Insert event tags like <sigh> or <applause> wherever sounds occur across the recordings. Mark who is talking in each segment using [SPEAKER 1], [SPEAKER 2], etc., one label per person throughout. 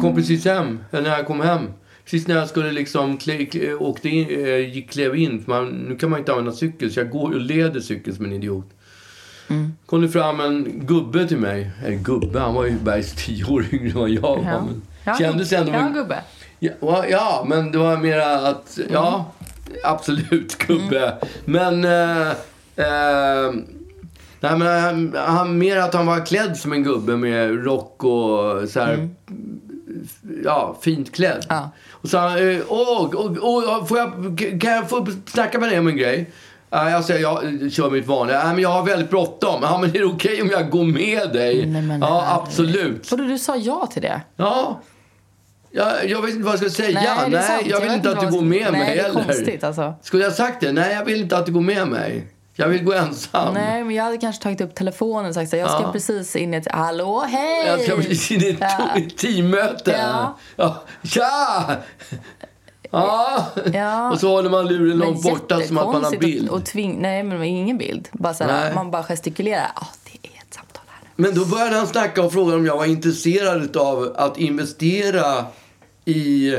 [SPEAKER 1] kom precis hem, eller när jag kom hem. Precis när jag skulle liksom klä, klä, åkte in, eh, gick- klev in, för man, nu kan man inte använda cykel, så jag går och leder cykeln som en idiot.
[SPEAKER 2] Mm.
[SPEAKER 1] Kom det fram en gubbe till mig. Eller gubbe, han var ju bergs tio år <laughs> yngre än vad jag var.
[SPEAKER 2] Ja.
[SPEAKER 1] Men
[SPEAKER 2] Ja,
[SPEAKER 1] kändes ändå...
[SPEAKER 2] Ja, gubbe.
[SPEAKER 1] Ja, va- ja, men det var mera att, ja,
[SPEAKER 2] Mm.
[SPEAKER 1] absolut <laughs> gubbe. Men, eh, eh, nej, men han, han, mer att han var klädd som en gubbe med rock och så här, ja, fint klädd.
[SPEAKER 2] Mm. Ja.
[SPEAKER 1] Och så han, eh, åh, åh, åh, får jag, kan jag få snacka med dig om en grej? Nej, Jag säger, jag eh, kör mitt vanliga. Nej, men jag har väldigt bråttom. Ja, men är det okej om jag går med dig?
[SPEAKER 2] Nej, men
[SPEAKER 1] ja,
[SPEAKER 2] herregud.
[SPEAKER 1] absolut.
[SPEAKER 2] Vadå, du sa ja till det?
[SPEAKER 1] Ja. Jag, jag vet inte vad jag ska säga. Nej,
[SPEAKER 2] det är sant.
[SPEAKER 1] jag vill
[SPEAKER 2] vet
[SPEAKER 1] inte att du
[SPEAKER 2] vad-
[SPEAKER 1] går med
[SPEAKER 2] Nej,
[SPEAKER 1] mig
[SPEAKER 2] det är
[SPEAKER 1] heller.
[SPEAKER 2] konstigt alltså.
[SPEAKER 1] Skulle jag ha sagt det? Nej, jag vill inte att du går med mig. Jag vill gå ensam.
[SPEAKER 2] Nej, men jag hade kanske tagit upp telefonen och sagt så här, jag ska
[SPEAKER 1] Ja.
[SPEAKER 2] precis in i ett... Hallå, hej!
[SPEAKER 1] Jag ska bli in i ett
[SPEAKER 2] Ja.
[SPEAKER 1] to- teammöte.
[SPEAKER 2] Ja.
[SPEAKER 1] Ja. Tja! Ja.
[SPEAKER 2] Ja.
[SPEAKER 1] Och så håller man luren <laughs>
[SPEAKER 2] Men
[SPEAKER 1] långt borta som att man har
[SPEAKER 2] jättekonstigt
[SPEAKER 1] bild.
[SPEAKER 2] Och, och tving... Nej, men ingen bild. Bara så
[SPEAKER 1] Nej.
[SPEAKER 2] här, man bara gestikulerar. Ja, det är ett samtal här nu.
[SPEAKER 1] Men då började han snacka och fråga om jag var intresserad av att investera i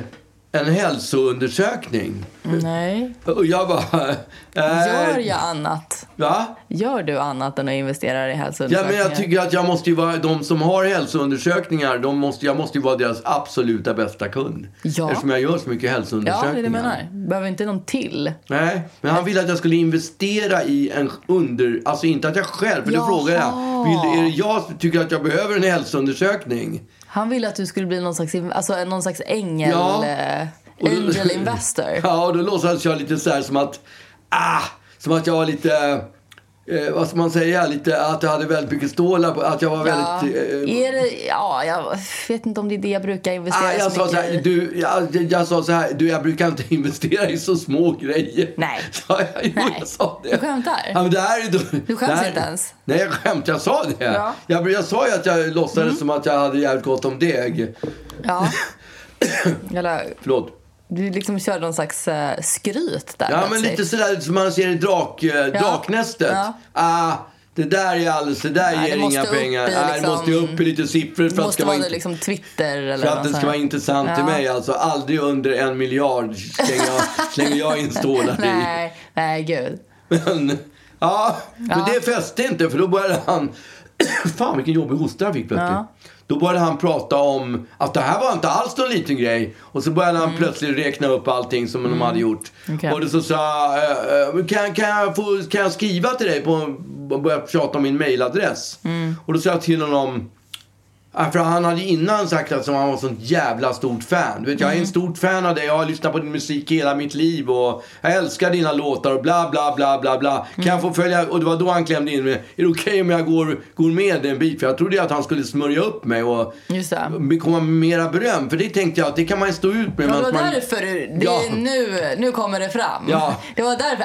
[SPEAKER 1] en hälsoundersökning.
[SPEAKER 2] Nej.
[SPEAKER 1] Och jag bara... <laughs> eh,
[SPEAKER 2] Gör jag annat?
[SPEAKER 1] Va?
[SPEAKER 2] Gör du annat än att investera i
[SPEAKER 1] Ja, men
[SPEAKER 2] hälsoundersökningar?
[SPEAKER 1] jag tycker att jag måste ju vara, de som har hälsoundersökningar, de måste, jag måste ju vara deras absoluta bästa kund.
[SPEAKER 2] Ja.
[SPEAKER 1] Eftersom jag gör så mycket
[SPEAKER 2] Ja,
[SPEAKER 1] hälsoundersökningar.
[SPEAKER 2] det är det jag menar. Behöver inte någon till.
[SPEAKER 1] Nej, men han ville att jag skulle investera i en under... Alltså inte att jag själv, för då
[SPEAKER 2] Jaha.
[SPEAKER 1] frågar jag. Vill, är det jag som tycker att jag behöver en hälsoundersökning?
[SPEAKER 2] Han ville att du skulle bli någon slags, alltså, någon slags ängel...
[SPEAKER 1] Ja.
[SPEAKER 2] eh,
[SPEAKER 1] Och då- <laughs>
[SPEAKER 2] Angel investor.
[SPEAKER 1] Ja, och då låtsades jag lite så här som att... Ah! Som att jag var lite... Eh, vad ska man säga? Lite att jag hade väldigt mycket stålar på, Att jag var
[SPEAKER 2] Ja.
[SPEAKER 1] väldigt... Eh,
[SPEAKER 2] Är det, ja, jag vet inte om det är det jag brukar investera
[SPEAKER 1] Ah, jag,
[SPEAKER 2] så
[SPEAKER 1] sa
[SPEAKER 2] mycket
[SPEAKER 1] så
[SPEAKER 2] i.
[SPEAKER 1] här, du, jag, jag- jag sa så här, du jag brukar inte <laughs> investera i så små grejer. <laughs>
[SPEAKER 2] Nej.
[SPEAKER 1] Sa jag, jo,
[SPEAKER 2] Nej.
[SPEAKER 1] jag sa det.
[SPEAKER 2] Du skämtar?
[SPEAKER 1] Ja, men det här är,
[SPEAKER 2] Du skäms inte ens.
[SPEAKER 1] Nej, jag skämt, jag sa det.
[SPEAKER 2] Ja. Mm.
[SPEAKER 1] Jag, jag sa ju att jag låtsades som att jag hade jävligt gott om deg.
[SPEAKER 2] Ja.
[SPEAKER 1] <laughs>
[SPEAKER 2] Eller,
[SPEAKER 1] Förlåt.
[SPEAKER 2] du liksom körde någon slags eh, skryt där
[SPEAKER 1] Ja, men
[SPEAKER 2] plötsligt.
[SPEAKER 1] lite sådär som man ser i drak, eh, draknästet.
[SPEAKER 2] Ja.
[SPEAKER 1] Ah, det där är alldeles, det där
[SPEAKER 2] Nej,
[SPEAKER 1] ger
[SPEAKER 2] det måste
[SPEAKER 1] inga
[SPEAKER 2] upp i
[SPEAKER 1] pengar. Nej, det
[SPEAKER 2] liksom-
[SPEAKER 1] måste ju upp i lite siffror för
[SPEAKER 2] Det
[SPEAKER 1] att det
[SPEAKER 2] måste
[SPEAKER 1] ska
[SPEAKER 2] vara
[SPEAKER 1] vara, in-
[SPEAKER 2] liksom Twitter eller
[SPEAKER 1] för att
[SPEAKER 2] något
[SPEAKER 1] det
[SPEAKER 2] sånt
[SPEAKER 1] ska vara
[SPEAKER 2] här.
[SPEAKER 1] intressant till
[SPEAKER 2] Ja.
[SPEAKER 1] mig. Alltså, aldrig under en miljard slänger jag, slänger jag in stålar i.
[SPEAKER 2] Nej, nej gud.
[SPEAKER 1] Men, ja, men
[SPEAKER 2] Ja.
[SPEAKER 1] det fäste inte för då började han... <coughs> Fan vilken jobbig hosta han fick plötsligt.
[SPEAKER 2] Ja.
[SPEAKER 1] Då började han prata om att det här var inte alls någon liten grej. Och så började han plötsligt räkna upp allting som de hade gjort.
[SPEAKER 2] Mm. Okej.
[SPEAKER 1] Och då så sa jag, eh, eh, kan, kan, jag få, kan jag skriva till dig? På, och började tjata om min mailadress.
[SPEAKER 2] Mm.
[SPEAKER 1] Och då sa jag till honom, Ja, För han hade innan sagt att han var sånt jävla stort fan. Du vet,
[SPEAKER 2] Mm.
[SPEAKER 1] jag är en stort fan av dig. Jag har lyssnat på din musik hela mitt liv. Och jag älskar dina låtar och bla bla bla bla bla. Kan jag
[SPEAKER 2] Mm.
[SPEAKER 1] få följa? Och det var då han klämde in mig. Är det okej om jag går, går med dig en bit? För jag trodde ju att han skulle smörja upp mig och
[SPEAKER 2] Just det.
[SPEAKER 1] komma med mera beröm. För det tänkte jag att det kan man ju stå ut med.
[SPEAKER 2] Ja,
[SPEAKER 1] men
[SPEAKER 2] det
[SPEAKER 1] att
[SPEAKER 2] var
[SPEAKER 1] man...
[SPEAKER 2] därför du, det
[SPEAKER 1] Ja.
[SPEAKER 2] är nu, nu kommer det fram.
[SPEAKER 1] Ja.
[SPEAKER 2] Det var därför,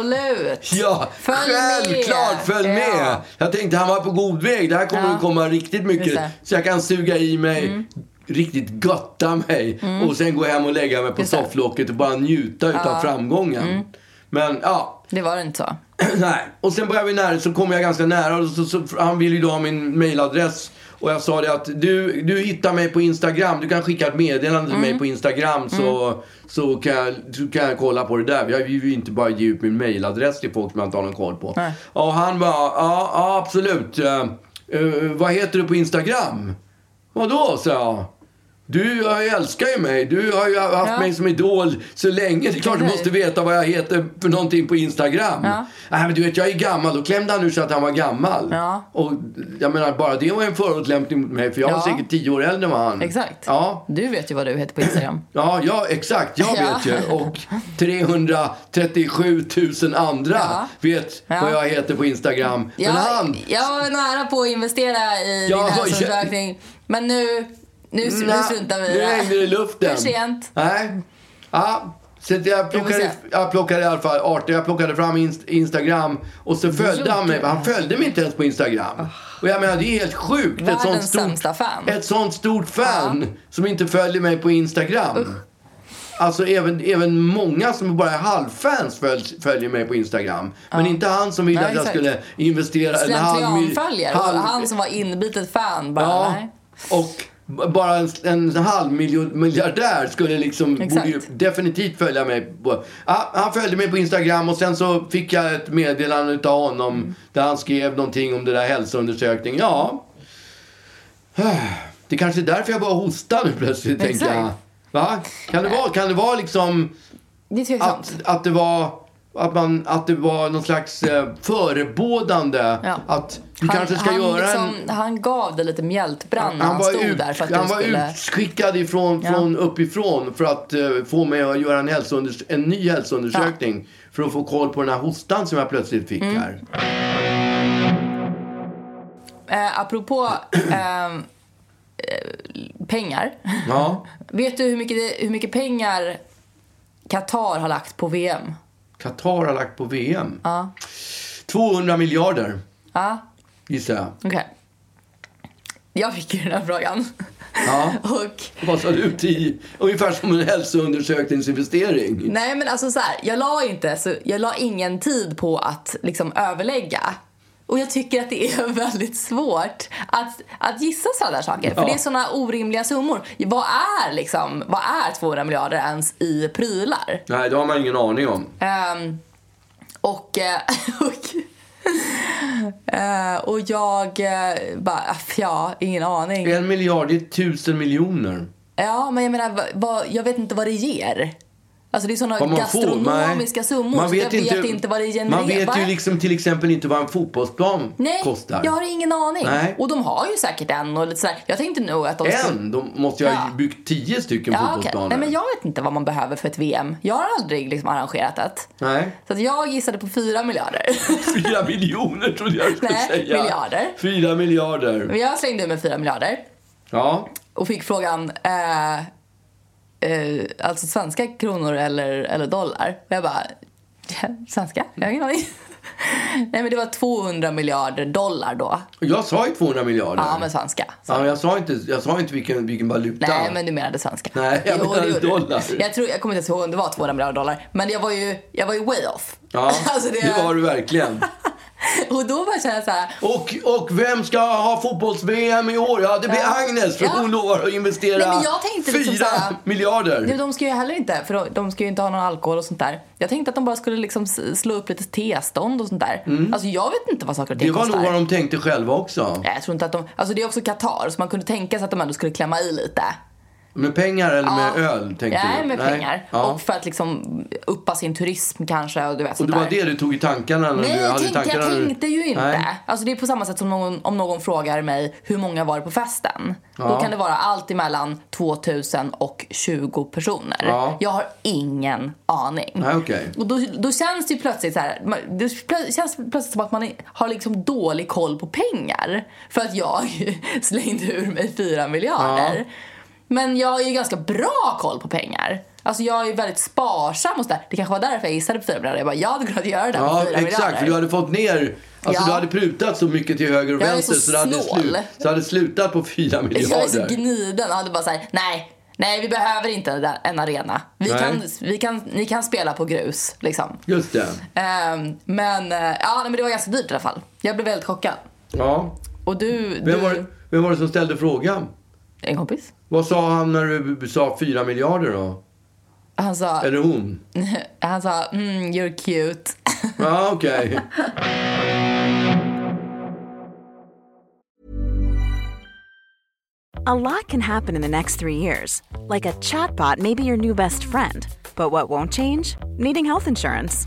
[SPEAKER 2] absolut.
[SPEAKER 1] Ja,
[SPEAKER 2] Följ
[SPEAKER 1] självklart
[SPEAKER 2] med.
[SPEAKER 1] följ med!
[SPEAKER 2] Ja.
[SPEAKER 1] Jag tänkte han var på god väg. Det här kommer
[SPEAKER 2] Ja.
[SPEAKER 1] att komma riktigt mycket.
[SPEAKER 2] Just det. Mm.
[SPEAKER 1] Så jag kan suga i mig, riktigt götta mig och sen gå hem och lägga mig på
[SPEAKER 2] Just det. Mm.
[SPEAKER 1] sofflocket och bara njuta utav framgången. Men ja,
[SPEAKER 2] Det var det inte så.
[SPEAKER 1] <clears throat> nej. Och sen började vi nära, så kom jag ganska nära och så, så, han ville ju då ha min mailadress. Och jag sa det att du, du hittar mig på Instagram. Du kan skicka ett meddelande till
[SPEAKER 2] Mm.
[SPEAKER 1] mig på Instagram så, så, kan jag, så kan jag kolla på det där. Jag vill ju inte bara ge ut min mailadress till folk som jag inte har någon koll på.
[SPEAKER 2] Nej.
[SPEAKER 1] Och han bara, ja, ja absolut. Eh, eh, vad heter du på Instagram? Vadå, sa jag. Du jag älskar ju mig. Du har ju haft
[SPEAKER 2] Ja.
[SPEAKER 1] mig som idol så länge. Det är klart du
[SPEAKER 2] Eller
[SPEAKER 1] måste
[SPEAKER 2] hur?
[SPEAKER 1] veta vad jag heter för någonting på Instagram.
[SPEAKER 2] Ja.
[SPEAKER 1] Nej men du vet jag är gammal. Då klämde han ur så att han var gammal.
[SPEAKER 2] Ja.
[SPEAKER 1] Och jag menar bara det var en förolämpning mot mig för jag var
[SPEAKER 2] Ja.
[SPEAKER 1] säkert tio år äldre än vad han.
[SPEAKER 2] Exakt.
[SPEAKER 1] Ja.
[SPEAKER 2] Du vet ju vad du heter på Instagram.
[SPEAKER 1] Ja, ja, exakt. Jag
[SPEAKER 2] Ja.
[SPEAKER 1] vet ju. Och 337 000 andra
[SPEAKER 2] Ja.
[SPEAKER 1] vet
[SPEAKER 2] Ja.
[SPEAKER 1] vad jag heter på Instagram.
[SPEAKER 2] Jag,
[SPEAKER 1] Men han,
[SPEAKER 2] jag var nära på att investera i
[SPEAKER 1] Ja,
[SPEAKER 2] din
[SPEAKER 1] jag-
[SPEAKER 2] hälsoundersökning. Men nu, nu, nu
[SPEAKER 1] Nej,
[SPEAKER 2] struntar vi i
[SPEAKER 1] Mm, Nu hängde det i
[SPEAKER 2] det.
[SPEAKER 1] luften.
[SPEAKER 2] För sent.
[SPEAKER 1] Nej. Ja. Så att jag,
[SPEAKER 2] Vi
[SPEAKER 1] plockade,
[SPEAKER 2] får se.
[SPEAKER 1] jag plockade i alla fall arter. Jag plockade fram inst- Instagram och så följde
[SPEAKER 2] gjorde
[SPEAKER 1] han mig.
[SPEAKER 2] det.
[SPEAKER 1] Han följde mig inte ens på Instagram. Och jag menar, det är helt sjukt. Ett
[SPEAKER 2] Världens
[SPEAKER 1] sånt
[SPEAKER 2] sämsta
[SPEAKER 1] stort,
[SPEAKER 2] fan.
[SPEAKER 1] ett sånt stort fan som inte följer mig på Instagram. Alltså även, även många som bara är halvfans följ, följer mig på Instagram. Men inte han som ville
[SPEAKER 2] Nej,
[SPEAKER 1] att jag
[SPEAKER 2] exakt.
[SPEAKER 1] skulle investera en halv mil-
[SPEAKER 2] Slentrianföljare.
[SPEAKER 1] halv-
[SPEAKER 2] Han som var inbitet fan bara,
[SPEAKER 1] Ja.
[SPEAKER 2] nej.
[SPEAKER 1] Och B- Bara en, en halv miljon- miljardär skulle liksom,
[SPEAKER 2] Exakt.
[SPEAKER 1] borde ju definitivt följa mig. På. Ja, han följde mig på Instagram och sen så fick jag ett meddelande utav honom
[SPEAKER 2] Mm.
[SPEAKER 1] där han skrev någonting om det där hälsoundersökningen. Ja, <sighs> det kanske är därför jag bara hostar nu plötsligt,
[SPEAKER 2] Exakt.
[SPEAKER 1] tänker jag. Va? Kan det vara, kan det vara liksom
[SPEAKER 2] Det är tveksamt.
[SPEAKER 1] att, att det var att, man, att det var någon slags eh, förebådande
[SPEAKER 2] Ja.
[SPEAKER 1] att du kanske ska
[SPEAKER 2] han,
[SPEAKER 1] göra en...
[SPEAKER 2] liksom, han gav dig lite mjältbrand när Mm. han,
[SPEAKER 1] Han var,
[SPEAKER 2] stod
[SPEAKER 1] ut,
[SPEAKER 2] där för att
[SPEAKER 1] han
[SPEAKER 2] du
[SPEAKER 1] var
[SPEAKER 2] skulle...
[SPEAKER 1] utskickad ifrån,
[SPEAKER 2] Ja.
[SPEAKER 1] från uppifrån för att eh, få mig att göra en, hälsounders- en ny hälsoundersökning för att få koll på den här hostan som jag plötsligt fick
[SPEAKER 2] Mm.
[SPEAKER 1] här.
[SPEAKER 2] Eh, apropå eh, eh, pengar.
[SPEAKER 1] Ja,
[SPEAKER 2] Vet du hur mycket, hur mycket pengar Qatar har lagt på VM?
[SPEAKER 1] Qatar har lagt på VM.
[SPEAKER 2] Ja,
[SPEAKER 1] 200 miljarder
[SPEAKER 2] ja
[SPEAKER 1] gissar jag.
[SPEAKER 2] okej. Jag fick ju den här frågan.
[SPEAKER 1] Ja.
[SPEAKER 2] <laughs> Och,
[SPEAKER 1] Vad sa du? Tio? Ungefär som en hälsoundersökningsinvestering.
[SPEAKER 2] nej men alltså så här, jag la inte, så jag la ingen tid på att liksom överlägga. Och jag tycker att det är <laughs> väldigt svårt att, att gissa sådana där saker. För
[SPEAKER 1] Ja.
[SPEAKER 2] det är sådana orimliga summor. Vad är liksom, vad är 200 miljarder ens i prylar?
[SPEAKER 1] Nej, det har man ingen aning om.
[SPEAKER 2] Ehm, och, eh, <laughs> och, eh, och jag eh, bara, aff, ja, ingen aning.
[SPEAKER 1] En miljard, det är tusen miljoner.
[SPEAKER 2] Ja, men jag menar, vad, vad, jag vet inte vad det ger. Alltså det är såna
[SPEAKER 1] Vad man
[SPEAKER 2] gastronomiska
[SPEAKER 1] får, nej.
[SPEAKER 2] summor så jag vet inte vad det genererar.
[SPEAKER 1] Man vet ju
[SPEAKER 2] Va?
[SPEAKER 1] liksom till exempel inte vad en fotbollsplan
[SPEAKER 2] Nej,
[SPEAKER 1] kostar.
[SPEAKER 2] jag har ingen aning.
[SPEAKER 1] Nej.
[SPEAKER 2] Och de har ju säkert en och lite sådär. Jag tänkte nog att de skulle...
[SPEAKER 1] En? De måste jag ha
[SPEAKER 2] Ja.
[SPEAKER 1] byggt tio stycken
[SPEAKER 2] Ja, okej.
[SPEAKER 1] fotbollsplaner.
[SPEAKER 2] Nej, men jag vet inte vad man behöver för ett VM. Jag har aldrig liksom arrangerat ett.
[SPEAKER 1] Nej. <laughs>
[SPEAKER 2] Så att jag gissade på fyra miljarder. <laughs>
[SPEAKER 1] Fyra miljoner trodde jag skulle
[SPEAKER 2] Nej,
[SPEAKER 1] säga.
[SPEAKER 2] miljarder.
[SPEAKER 1] Fyra miljarder.
[SPEAKER 2] men jag slängde ur med fyra miljarder.
[SPEAKER 1] Ja.
[SPEAKER 2] och fick frågan eh, eh, alltså svenska kronor eller, eller dollar. Och jag bara, svenska? Jag har ingen aning. <laughs> Nej men det var 200 miljarder dollar då.
[SPEAKER 1] Jag sa ju 200 miljarder.
[SPEAKER 2] Ja men svenska.
[SPEAKER 1] Ja, men jag sa inte, jag sa inte vilken, vilken valuta.
[SPEAKER 2] Nej men du menade svenska.
[SPEAKER 1] Nej, jag
[SPEAKER 2] Jo, det
[SPEAKER 1] menade
[SPEAKER 2] gjorde du.
[SPEAKER 1] dollar.
[SPEAKER 2] Jag, tror, jag kommer inte ens ihåg om det var 200 miljarder dollar. Men jag var ju, jag var ju way off.
[SPEAKER 1] Ja,
[SPEAKER 2] <laughs> Alltså, det-
[SPEAKER 1] det var du verkligen.
[SPEAKER 2] Och då bara kände jag så här,
[SPEAKER 1] Och, och vem ska ha fotbolls-VM i år? Ja, det blir
[SPEAKER 2] Ja.
[SPEAKER 1] Agnes för
[SPEAKER 2] Ja.
[SPEAKER 1] hon lovar att investera
[SPEAKER 2] Nej, men jag tänkte liksom
[SPEAKER 1] fyra
[SPEAKER 2] så här-
[SPEAKER 1] miljarder.
[SPEAKER 2] Nej, de ska ju heller inte, för de, de ska ju inte ha någon alkohol och sånt där. Jag tänkte att de bara skulle liksom s- slå upp lite testånd och sånt där. Alltså jag vet inte vad saker och ting
[SPEAKER 1] Mm. det var nog
[SPEAKER 2] kostar.
[SPEAKER 1] vad de tänkte själva också.
[SPEAKER 2] Nej, jag tror inte att de... Alltså det är också Qatar, så man kunde tänka sig att de ändå skulle klämma i lite.
[SPEAKER 1] Med pengar eller
[SPEAKER 2] Ja.
[SPEAKER 1] med öl? Tänkte
[SPEAKER 2] Nej,
[SPEAKER 1] du?
[SPEAKER 2] med pengar.
[SPEAKER 1] Ja.
[SPEAKER 2] Och för att liksom uppa sin turism kanske och du vet
[SPEAKER 1] Och
[SPEAKER 2] sånt
[SPEAKER 1] det var
[SPEAKER 2] där.
[SPEAKER 1] det du tog i tankarna? När
[SPEAKER 2] Nej,
[SPEAKER 1] du hade
[SPEAKER 2] jag
[SPEAKER 1] i
[SPEAKER 2] tänkte,
[SPEAKER 1] tankarna
[SPEAKER 2] jag
[SPEAKER 1] när du-
[SPEAKER 2] tänkte ju inte.
[SPEAKER 1] Nej.
[SPEAKER 2] Alltså det är på samma sätt som någon, om någon frågar mig hur många var det på festen. Då
[SPEAKER 1] Ja.
[SPEAKER 2] kan det vara allt emellan 2000 och 20 personer.
[SPEAKER 1] Ja.
[SPEAKER 2] Jag har ingen aning.
[SPEAKER 1] Nej, okej.
[SPEAKER 2] Och då, då känns det ju plötsligt så här, man- det plö- känns plötsligt som att man är- har liksom dålig koll på pengar. För att jag <laughs> slängde ur mig fyra miljarder. Men jag har ju ganska bra koll på pengar. Alltså jag är väldigt sparsam och sådär. Det kanske var därför jag gissade på fyra miljarder. Jag bara, jag hade kunnat göra det här
[SPEAKER 1] Ja,
[SPEAKER 2] med fyra
[SPEAKER 1] exakt. För du
[SPEAKER 2] miljarder.
[SPEAKER 1] hade fått ner... Alltså
[SPEAKER 2] Ja.
[SPEAKER 1] du hade prutat så mycket till höger och
[SPEAKER 2] Jag är
[SPEAKER 1] vänster
[SPEAKER 2] så
[SPEAKER 1] det hade,
[SPEAKER 2] snål.
[SPEAKER 1] slut, så hade slutat på fyra
[SPEAKER 2] Jag är så
[SPEAKER 1] miljarder.
[SPEAKER 2] gniden och hade bara såhär, nej, nej vi behöver inte en- en arena. Vi
[SPEAKER 1] Nej.
[SPEAKER 2] kan, vi kan, ni kan spela på grus liksom.
[SPEAKER 1] Just det.
[SPEAKER 2] Ehm, men, eh, ja, nej, men det var ganska dyrt i alla fall. Jag blev väldigt chockad.
[SPEAKER 1] Ja.
[SPEAKER 2] Och du, du
[SPEAKER 1] Vem var, det- vem var det som ställde frågan?
[SPEAKER 2] en kompis?
[SPEAKER 1] Vad sa han när du sa fyra miljarder då?
[SPEAKER 2] Han sa,
[SPEAKER 1] Eller hon?
[SPEAKER 2] <laughs> han sa mm, you're cute. <laughs>
[SPEAKER 1] Ja, okej.
[SPEAKER 3] A lot can happen in the next three years. Like a chatbot may be your new best friend. But what won't change? Needing health insurance.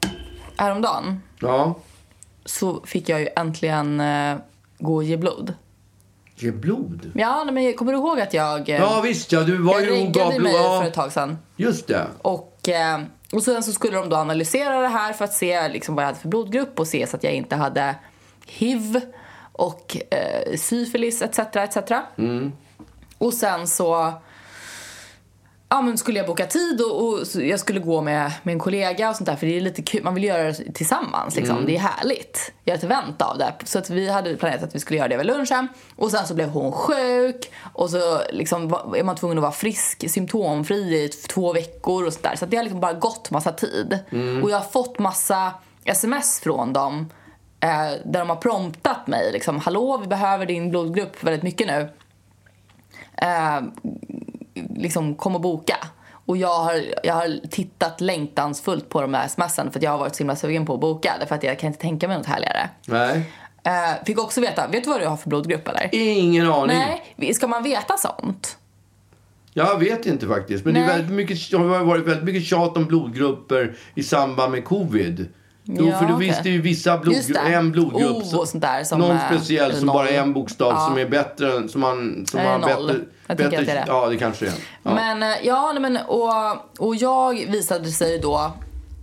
[SPEAKER 2] häromdagen
[SPEAKER 1] Ja.
[SPEAKER 2] så fick jag ju äntligen eh, gå och ge blod.
[SPEAKER 1] Ge blod.
[SPEAKER 2] Ja, nej, men kommer du ihåg att jag... Eh,
[SPEAKER 1] Ja visst ja, du var
[SPEAKER 2] jag
[SPEAKER 1] ju och gav
[SPEAKER 2] riggade
[SPEAKER 1] blod.
[SPEAKER 2] mig för
[SPEAKER 1] Ja,
[SPEAKER 2] ett tag sedan.
[SPEAKER 1] just det.
[SPEAKER 2] Och, eh, och sen så skulle de då analysera det här för att se liksom vad jag hade för blodgrupp och se så att jag inte hade hiv och eh, syfilis etc. etc.
[SPEAKER 1] Mm.
[SPEAKER 2] Och sen så ja, men skulle jag boka tid och, och så jag skulle gå med, med en kollega och sånt där för det är lite kul, man vill göra det tillsammans liksom. Det är härligt. Jag har ett event av det. Så att vi hade planerat att vi skulle göra det över lunchen och sen så blev hon sjuk och så liksom va- är man tvungen att vara frisk, symptomfri i t- två veckor och sånt där. Så att det har liksom bara gått massa tid. Och jag har fått massa sms från dem eh, där de har promptat mig liksom, hallå vi behöver din blodgrupp väldigt mycket nu eh, liksom kom och boka. Och jag har, jag har tittat längtansfullt på de där smsen för att jag har varit så himla sugen på att boka därför att jag kan inte tänka mig något härligare.
[SPEAKER 1] Nej.
[SPEAKER 2] Eh, fick också veta, vet du vad du har för blodgrupp eller?
[SPEAKER 1] Ingen aning.
[SPEAKER 2] Nej, ska man veta sånt?
[SPEAKER 1] Jag vet inte faktiskt. Men det är
[SPEAKER 2] Nej.
[SPEAKER 1] väldigt mycket, det har varit väldigt mycket tjat om blodgrupper i samband med covid. Då,
[SPEAKER 2] Ja,
[SPEAKER 1] för då
[SPEAKER 2] okej.
[SPEAKER 1] visste ju vissa
[SPEAKER 2] Just
[SPEAKER 1] blodgrupp,
[SPEAKER 2] det.
[SPEAKER 1] en blodgrupp.
[SPEAKER 2] O
[SPEAKER 1] som-
[SPEAKER 2] och sånt där som
[SPEAKER 1] någon
[SPEAKER 2] är-
[SPEAKER 1] speciell
[SPEAKER 2] eller
[SPEAKER 1] som bara
[SPEAKER 2] noll.
[SPEAKER 1] är en bokstav
[SPEAKER 2] Ja.
[SPEAKER 1] som är bättre. än- Som man, som
[SPEAKER 2] Är det
[SPEAKER 1] har
[SPEAKER 2] noll?
[SPEAKER 1] bättre,
[SPEAKER 2] Jag
[SPEAKER 1] bättre,
[SPEAKER 2] tänker att det är det.
[SPEAKER 1] Ja, det kanske är. Ja.
[SPEAKER 2] Men eh, ja, nej, men och, och jag visade sig då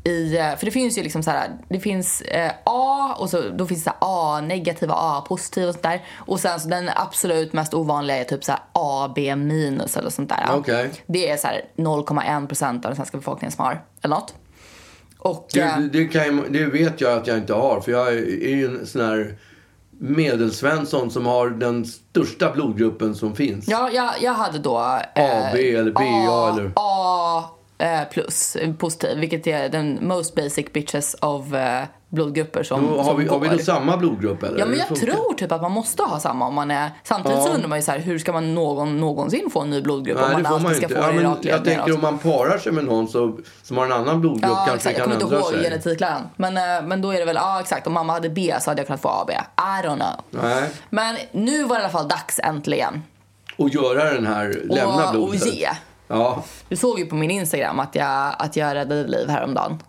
[SPEAKER 2] i, eh, för det finns ju liksom så här, det finns eh, A och så då finns det så här A negativa, A positiva och sånt där. Och sen så den absolut mest ovanliga är typ så här AB minus eller sånt där.
[SPEAKER 1] Okej.
[SPEAKER 2] Det är så här 0,1% av den svenska befolkningen som har eller något. Och eh,
[SPEAKER 1] Det, det, kan jag, det vet jag att jag inte har. För jag är är ju en sån här medelsvensson som har den största blodgruppen som finns.
[SPEAKER 2] ja, jag, jag hade då eh,
[SPEAKER 1] A, B eller BA
[SPEAKER 2] A,
[SPEAKER 1] eller...
[SPEAKER 2] A eh, plus, eh, positiv, vilket är den most basic bitches av eh, blodgrupper som,
[SPEAKER 1] Och Har
[SPEAKER 2] som
[SPEAKER 1] vi, har vi
[SPEAKER 2] går.
[SPEAKER 1] då samma blodgrupp eller?
[SPEAKER 2] Ja men
[SPEAKER 1] Hur
[SPEAKER 2] jag
[SPEAKER 1] funkar-
[SPEAKER 2] tror typ att man måste ha samma om man är... Samtidigt så
[SPEAKER 1] Ja.
[SPEAKER 2] undrar man ju så här, hur ska man någon, någonsin få en ny blodgrupp om
[SPEAKER 1] Nej,
[SPEAKER 2] man
[SPEAKER 1] det får
[SPEAKER 2] alltid
[SPEAKER 1] man ju
[SPEAKER 2] ska
[SPEAKER 1] inte.
[SPEAKER 2] få
[SPEAKER 1] Ja,
[SPEAKER 2] det i
[SPEAKER 1] men
[SPEAKER 2] rakt
[SPEAKER 1] jag tänker om
[SPEAKER 2] man
[SPEAKER 1] man parar sig med någon så, som har en annan blodgrupp
[SPEAKER 2] Ja,
[SPEAKER 1] kanske
[SPEAKER 2] exakt. Jag
[SPEAKER 1] kan
[SPEAKER 2] kommer inte
[SPEAKER 1] ändra
[SPEAKER 2] ihåg
[SPEAKER 1] sig.
[SPEAKER 2] genetikläraren. Men, eh, men då är det väl, ja exakt. Om mamma hade B så hade jag kunnat få AB. I don't know.
[SPEAKER 1] Nej.
[SPEAKER 2] Men nu var det i alla fall dags äntligen.
[SPEAKER 1] Och göra den här, lämna
[SPEAKER 2] och,
[SPEAKER 1] blodet.
[SPEAKER 2] och ge.
[SPEAKER 1] Ja.
[SPEAKER 2] Du såg ju på min Instagram att jag, att jag räddade liv häromdagen.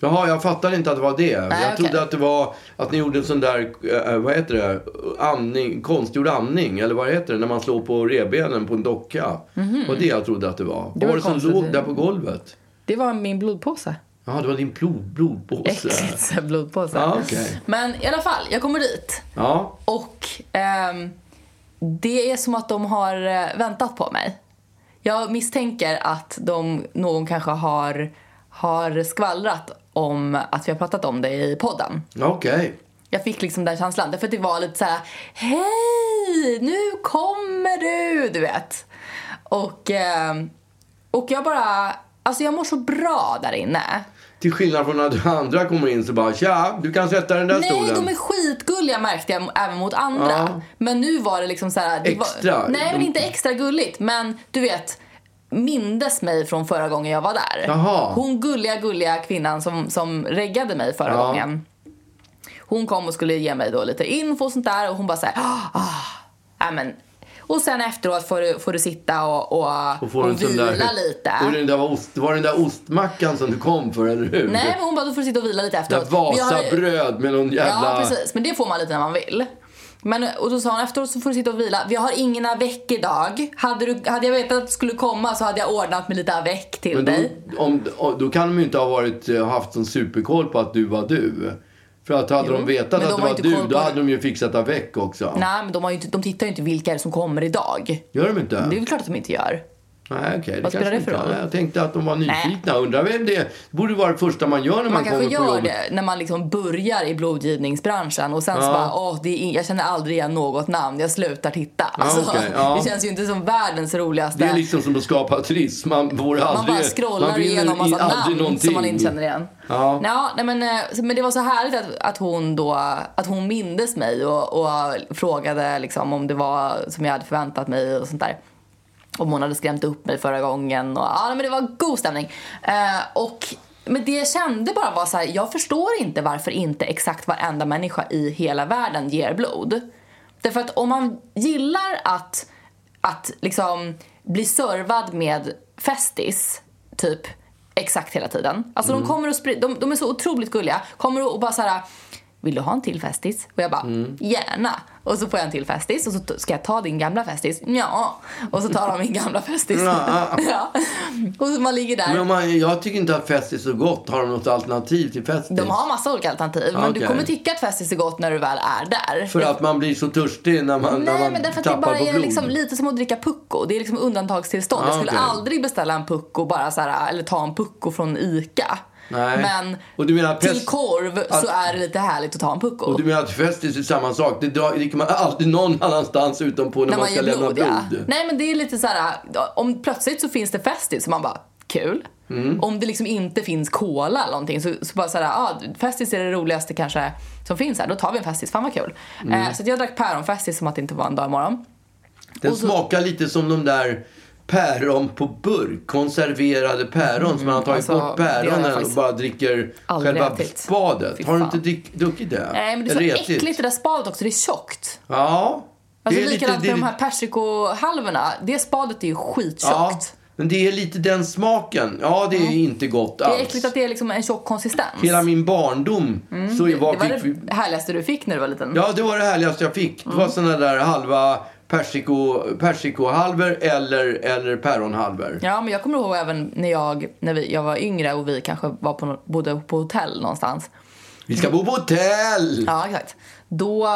[SPEAKER 1] Jaha, jag fattade inte att det var det. jag
[SPEAKER 2] okej.
[SPEAKER 1] trodde att det var att ni gjorde en sån där, eh, vad heter det, andning, konstgjord andning. Eller vad heter det, när man slår på revbenen på en docka. Det var det jag trodde att det var. Vad
[SPEAKER 2] Mhm. var
[SPEAKER 1] var det som
[SPEAKER 2] konstigt.
[SPEAKER 1] låg där på golvet?
[SPEAKER 2] Det var min blodpåse.
[SPEAKER 1] Jaha, det var din blod, blodpåse.
[SPEAKER 2] Exits blodpåse.
[SPEAKER 1] Ja, okej.
[SPEAKER 2] Men i alla fall, jag kommer dit.
[SPEAKER 1] Ja,
[SPEAKER 2] Och ehm, det är som att de har eh, väntat på mig. Jag misstänker att de, någon kanske har, har skvallrat om att vi har pratat om det i podden.
[SPEAKER 1] okej.
[SPEAKER 2] Jag fick liksom den känslan. Därför att det var lite så här: hej, nu kommer du, du vet. Och, ehm, och jag bara, alltså jag mår så bra där inne.
[SPEAKER 1] Till skillnad från när andra kommer in så bara, tja, du kan sätta den där
[SPEAKER 2] Nej,
[SPEAKER 1] stolen.
[SPEAKER 2] de är skitgulliga märkte jag även mot andra.
[SPEAKER 1] Ja.
[SPEAKER 2] Men nu var det liksom så här. Det
[SPEAKER 1] Extra.
[SPEAKER 2] Var, nej, men
[SPEAKER 1] De-
[SPEAKER 2] inte extra gulligt. Men du vet, mindes mig från förra gången jag var där.
[SPEAKER 1] Jaha.
[SPEAKER 2] Hon gulliga, gulliga kvinnan som, som reggade mig förra
[SPEAKER 1] Ja.
[SPEAKER 2] gången. Hon kom och skulle ge mig då lite info och sånt där och hon bara såhär, ah, ah, nej, men. Och sen efteråt får du, får du sitta och, och,
[SPEAKER 1] Och får en sån
[SPEAKER 2] vila
[SPEAKER 1] där,
[SPEAKER 2] lite.
[SPEAKER 1] Och den där var, ost, var den där ostmackan som du kom för, eller hur?
[SPEAKER 2] Nej, men hon bara, då får du sitta och vila lite
[SPEAKER 1] Där
[SPEAKER 2] efteråt. Men jag har ju-
[SPEAKER 1] Vasabröd med någon jävla...
[SPEAKER 2] Ja, precis. Men det får man lite när man vill. Men, och då sa hon efteråt så får du sitta och vila. Vi har ingen avec idag. Hade, du, hade jag vetat att du skulle komma så hade jag ordnat med lite avec till
[SPEAKER 1] Men
[SPEAKER 2] dig.
[SPEAKER 1] då, om, om- då kan de ju inte ha varit, eh, haft sån superkoll på att du var du. För att hade
[SPEAKER 2] Jo,
[SPEAKER 1] de vetat
[SPEAKER 2] men de
[SPEAKER 1] att
[SPEAKER 2] har
[SPEAKER 1] det var
[SPEAKER 2] inte
[SPEAKER 1] du,
[SPEAKER 2] koll
[SPEAKER 1] då
[SPEAKER 2] på-
[SPEAKER 1] hade de ju fixat avec också.
[SPEAKER 2] Nej, men de, har ju inte, de tittar ju inte vilka är det som kommer idag.
[SPEAKER 1] Gör de inte?
[SPEAKER 2] Det är väl klart att de inte gör.
[SPEAKER 1] Nej, okej. det
[SPEAKER 2] Vad
[SPEAKER 1] kanske
[SPEAKER 2] spelar det
[SPEAKER 1] inte-
[SPEAKER 2] för roll?
[SPEAKER 1] Nej, Jag tänkte att de var nyfikna. Undrar vem det är. Det borde vara det första man gör när man,
[SPEAKER 2] Man kanske
[SPEAKER 1] kommer på
[SPEAKER 2] gör
[SPEAKER 1] jobbet.
[SPEAKER 2] det när man liksom börjar i blodgivningsbranschen och sen så bara, åh, det är in, jag känner aldrig igen något namn, jag slutar titta. Alltså,
[SPEAKER 1] okej, ja.
[SPEAKER 2] Det känns ju inte som världens roligaste.
[SPEAKER 1] Det är liksom som att skapa turism. Man, får
[SPEAKER 2] Man
[SPEAKER 1] aldrig,
[SPEAKER 2] bara scrollar
[SPEAKER 1] vinner
[SPEAKER 2] igenom
[SPEAKER 1] i-
[SPEAKER 2] massa
[SPEAKER 1] aldrig
[SPEAKER 2] namn
[SPEAKER 1] någonting.
[SPEAKER 2] som man inte känner igen.
[SPEAKER 1] Ja.
[SPEAKER 2] Ja, nej men, eh, så- men det var så härligt att, att hon då, att hon mindes mig och, och frågade liksom om det var som jag hade förväntat mig och sånt där. Om hon hade skrämt upp mig förra gången och ja, nej, men det var god stämning. Eh, och men det jag kände bara var så här, jag förstår inte varför inte exakt varenda människa i hela världen ger blod. Därför att om man gillar att, att liksom bli servad med Festis, typ exakt hela tiden. Alltså
[SPEAKER 1] Mm.
[SPEAKER 2] de kommer och spri- de, de är så otroligt gulliga. Kommer och bara så här. Vill du ha en till festis? Och jag bara,
[SPEAKER 1] Mm.
[SPEAKER 2] gärna. Och så får jag en till festis och så t- ska jag ta din gamla festis? Ja. Och så tar de min gamla festis.
[SPEAKER 1] Ja.
[SPEAKER 2] <laughs> ja. Och så man ligger där.
[SPEAKER 1] Men om man, jag tycker inte att fest är så gott. Har de något alternativ till fest?
[SPEAKER 2] De har massa olika alternativ. Men du
[SPEAKER 1] Okej.
[SPEAKER 2] kommer tycka att festis är gott när du väl är där.
[SPEAKER 1] För att man blir så törstig när man, när
[SPEAKER 2] Nej,
[SPEAKER 1] man
[SPEAKER 2] men därför att det
[SPEAKER 1] tappar
[SPEAKER 2] bara
[SPEAKER 1] på
[SPEAKER 2] är
[SPEAKER 1] blod.
[SPEAKER 2] liksom lite som att dricka pucko. Det är liksom undantagstillstånd.
[SPEAKER 1] Ah,
[SPEAKER 2] jag skulle
[SPEAKER 1] okej.
[SPEAKER 2] aldrig beställa en pucko bara så här, eller ta en pucko från ICA.
[SPEAKER 1] Nej.
[SPEAKER 2] Men
[SPEAKER 1] Och du menar
[SPEAKER 2] till
[SPEAKER 1] pest-
[SPEAKER 2] korv så är det lite härligt att ta en pucko.
[SPEAKER 1] Och du menar att festis är samma sak? Det drar- dricker man aldrig någon annanstans utom på när, man ska lämna blod?
[SPEAKER 2] Nej men det är lite så här, om plötsligt så finns det festis så man bara kul.
[SPEAKER 1] Mm.
[SPEAKER 2] Om det liksom inte finns cola eller någonting så, så bara såhär, ah, festis är det roligaste kanske som finns här, då tar vi en festis, fan vad kul.
[SPEAKER 1] Mm.
[SPEAKER 2] Eh, så att jag drack päronfestis som att det inte var en dag imorgon.
[SPEAKER 1] Den
[SPEAKER 2] Och så-
[SPEAKER 1] smakar lite som de där päron på burk. Konserverade päron som man har tagit
[SPEAKER 2] alltså,
[SPEAKER 1] bort
[SPEAKER 2] det har jag
[SPEAKER 1] päronen och
[SPEAKER 2] faktiskt
[SPEAKER 1] bara dricker
[SPEAKER 2] aldrig
[SPEAKER 1] själva
[SPEAKER 2] ätit. Fy
[SPEAKER 1] spadet. Har du inte
[SPEAKER 2] fan.
[SPEAKER 1] drick, druckit det?
[SPEAKER 2] Nej men det är så
[SPEAKER 1] Eller ätit?
[SPEAKER 2] äckligt det där spadet också, det är tjockt.
[SPEAKER 1] Ja.
[SPEAKER 2] Alltså
[SPEAKER 1] det är
[SPEAKER 2] likadant
[SPEAKER 1] lite,
[SPEAKER 2] med de
[SPEAKER 1] det-
[SPEAKER 2] här persikohalvorna, det spadet är ju
[SPEAKER 1] Ja,
[SPEAKER 2] skittjockt.
[SPEAKER 1] men det är lite den smaken. Ja, det är inte gott
[SPEAKER 2] Det
[SPEAKER 1] alls.
[SPEAKER 2] är äckligt att det är liksom en tjock konsistens.
[SPEAKER 1] Hela min barndom så
[SPEAKER 2] det
[SPEAKER 1] var,
[SPEAKER 2] var
[SPEAKER 1] fick vi...
[SPEAKER 2] det härligaste du fick när du var liten.
[SPEAKER 1] Ja, det var det härligaste jag fick.
[SPEAKER 2] Mm.
[SPEAKER 1] Det var såna där halva persiko, persikohalvor eller, eller päronhalvor.
[SPEAKER 2] Ja, men jag kommer ihåg även när jag, när vi, jag var yngre och vi kanske var på, nå- bodde på hotell någonstans.
[SPEAKER 1] Vi ska bo på hotell!
[SPEAKER 2] Ja, exakt. Då,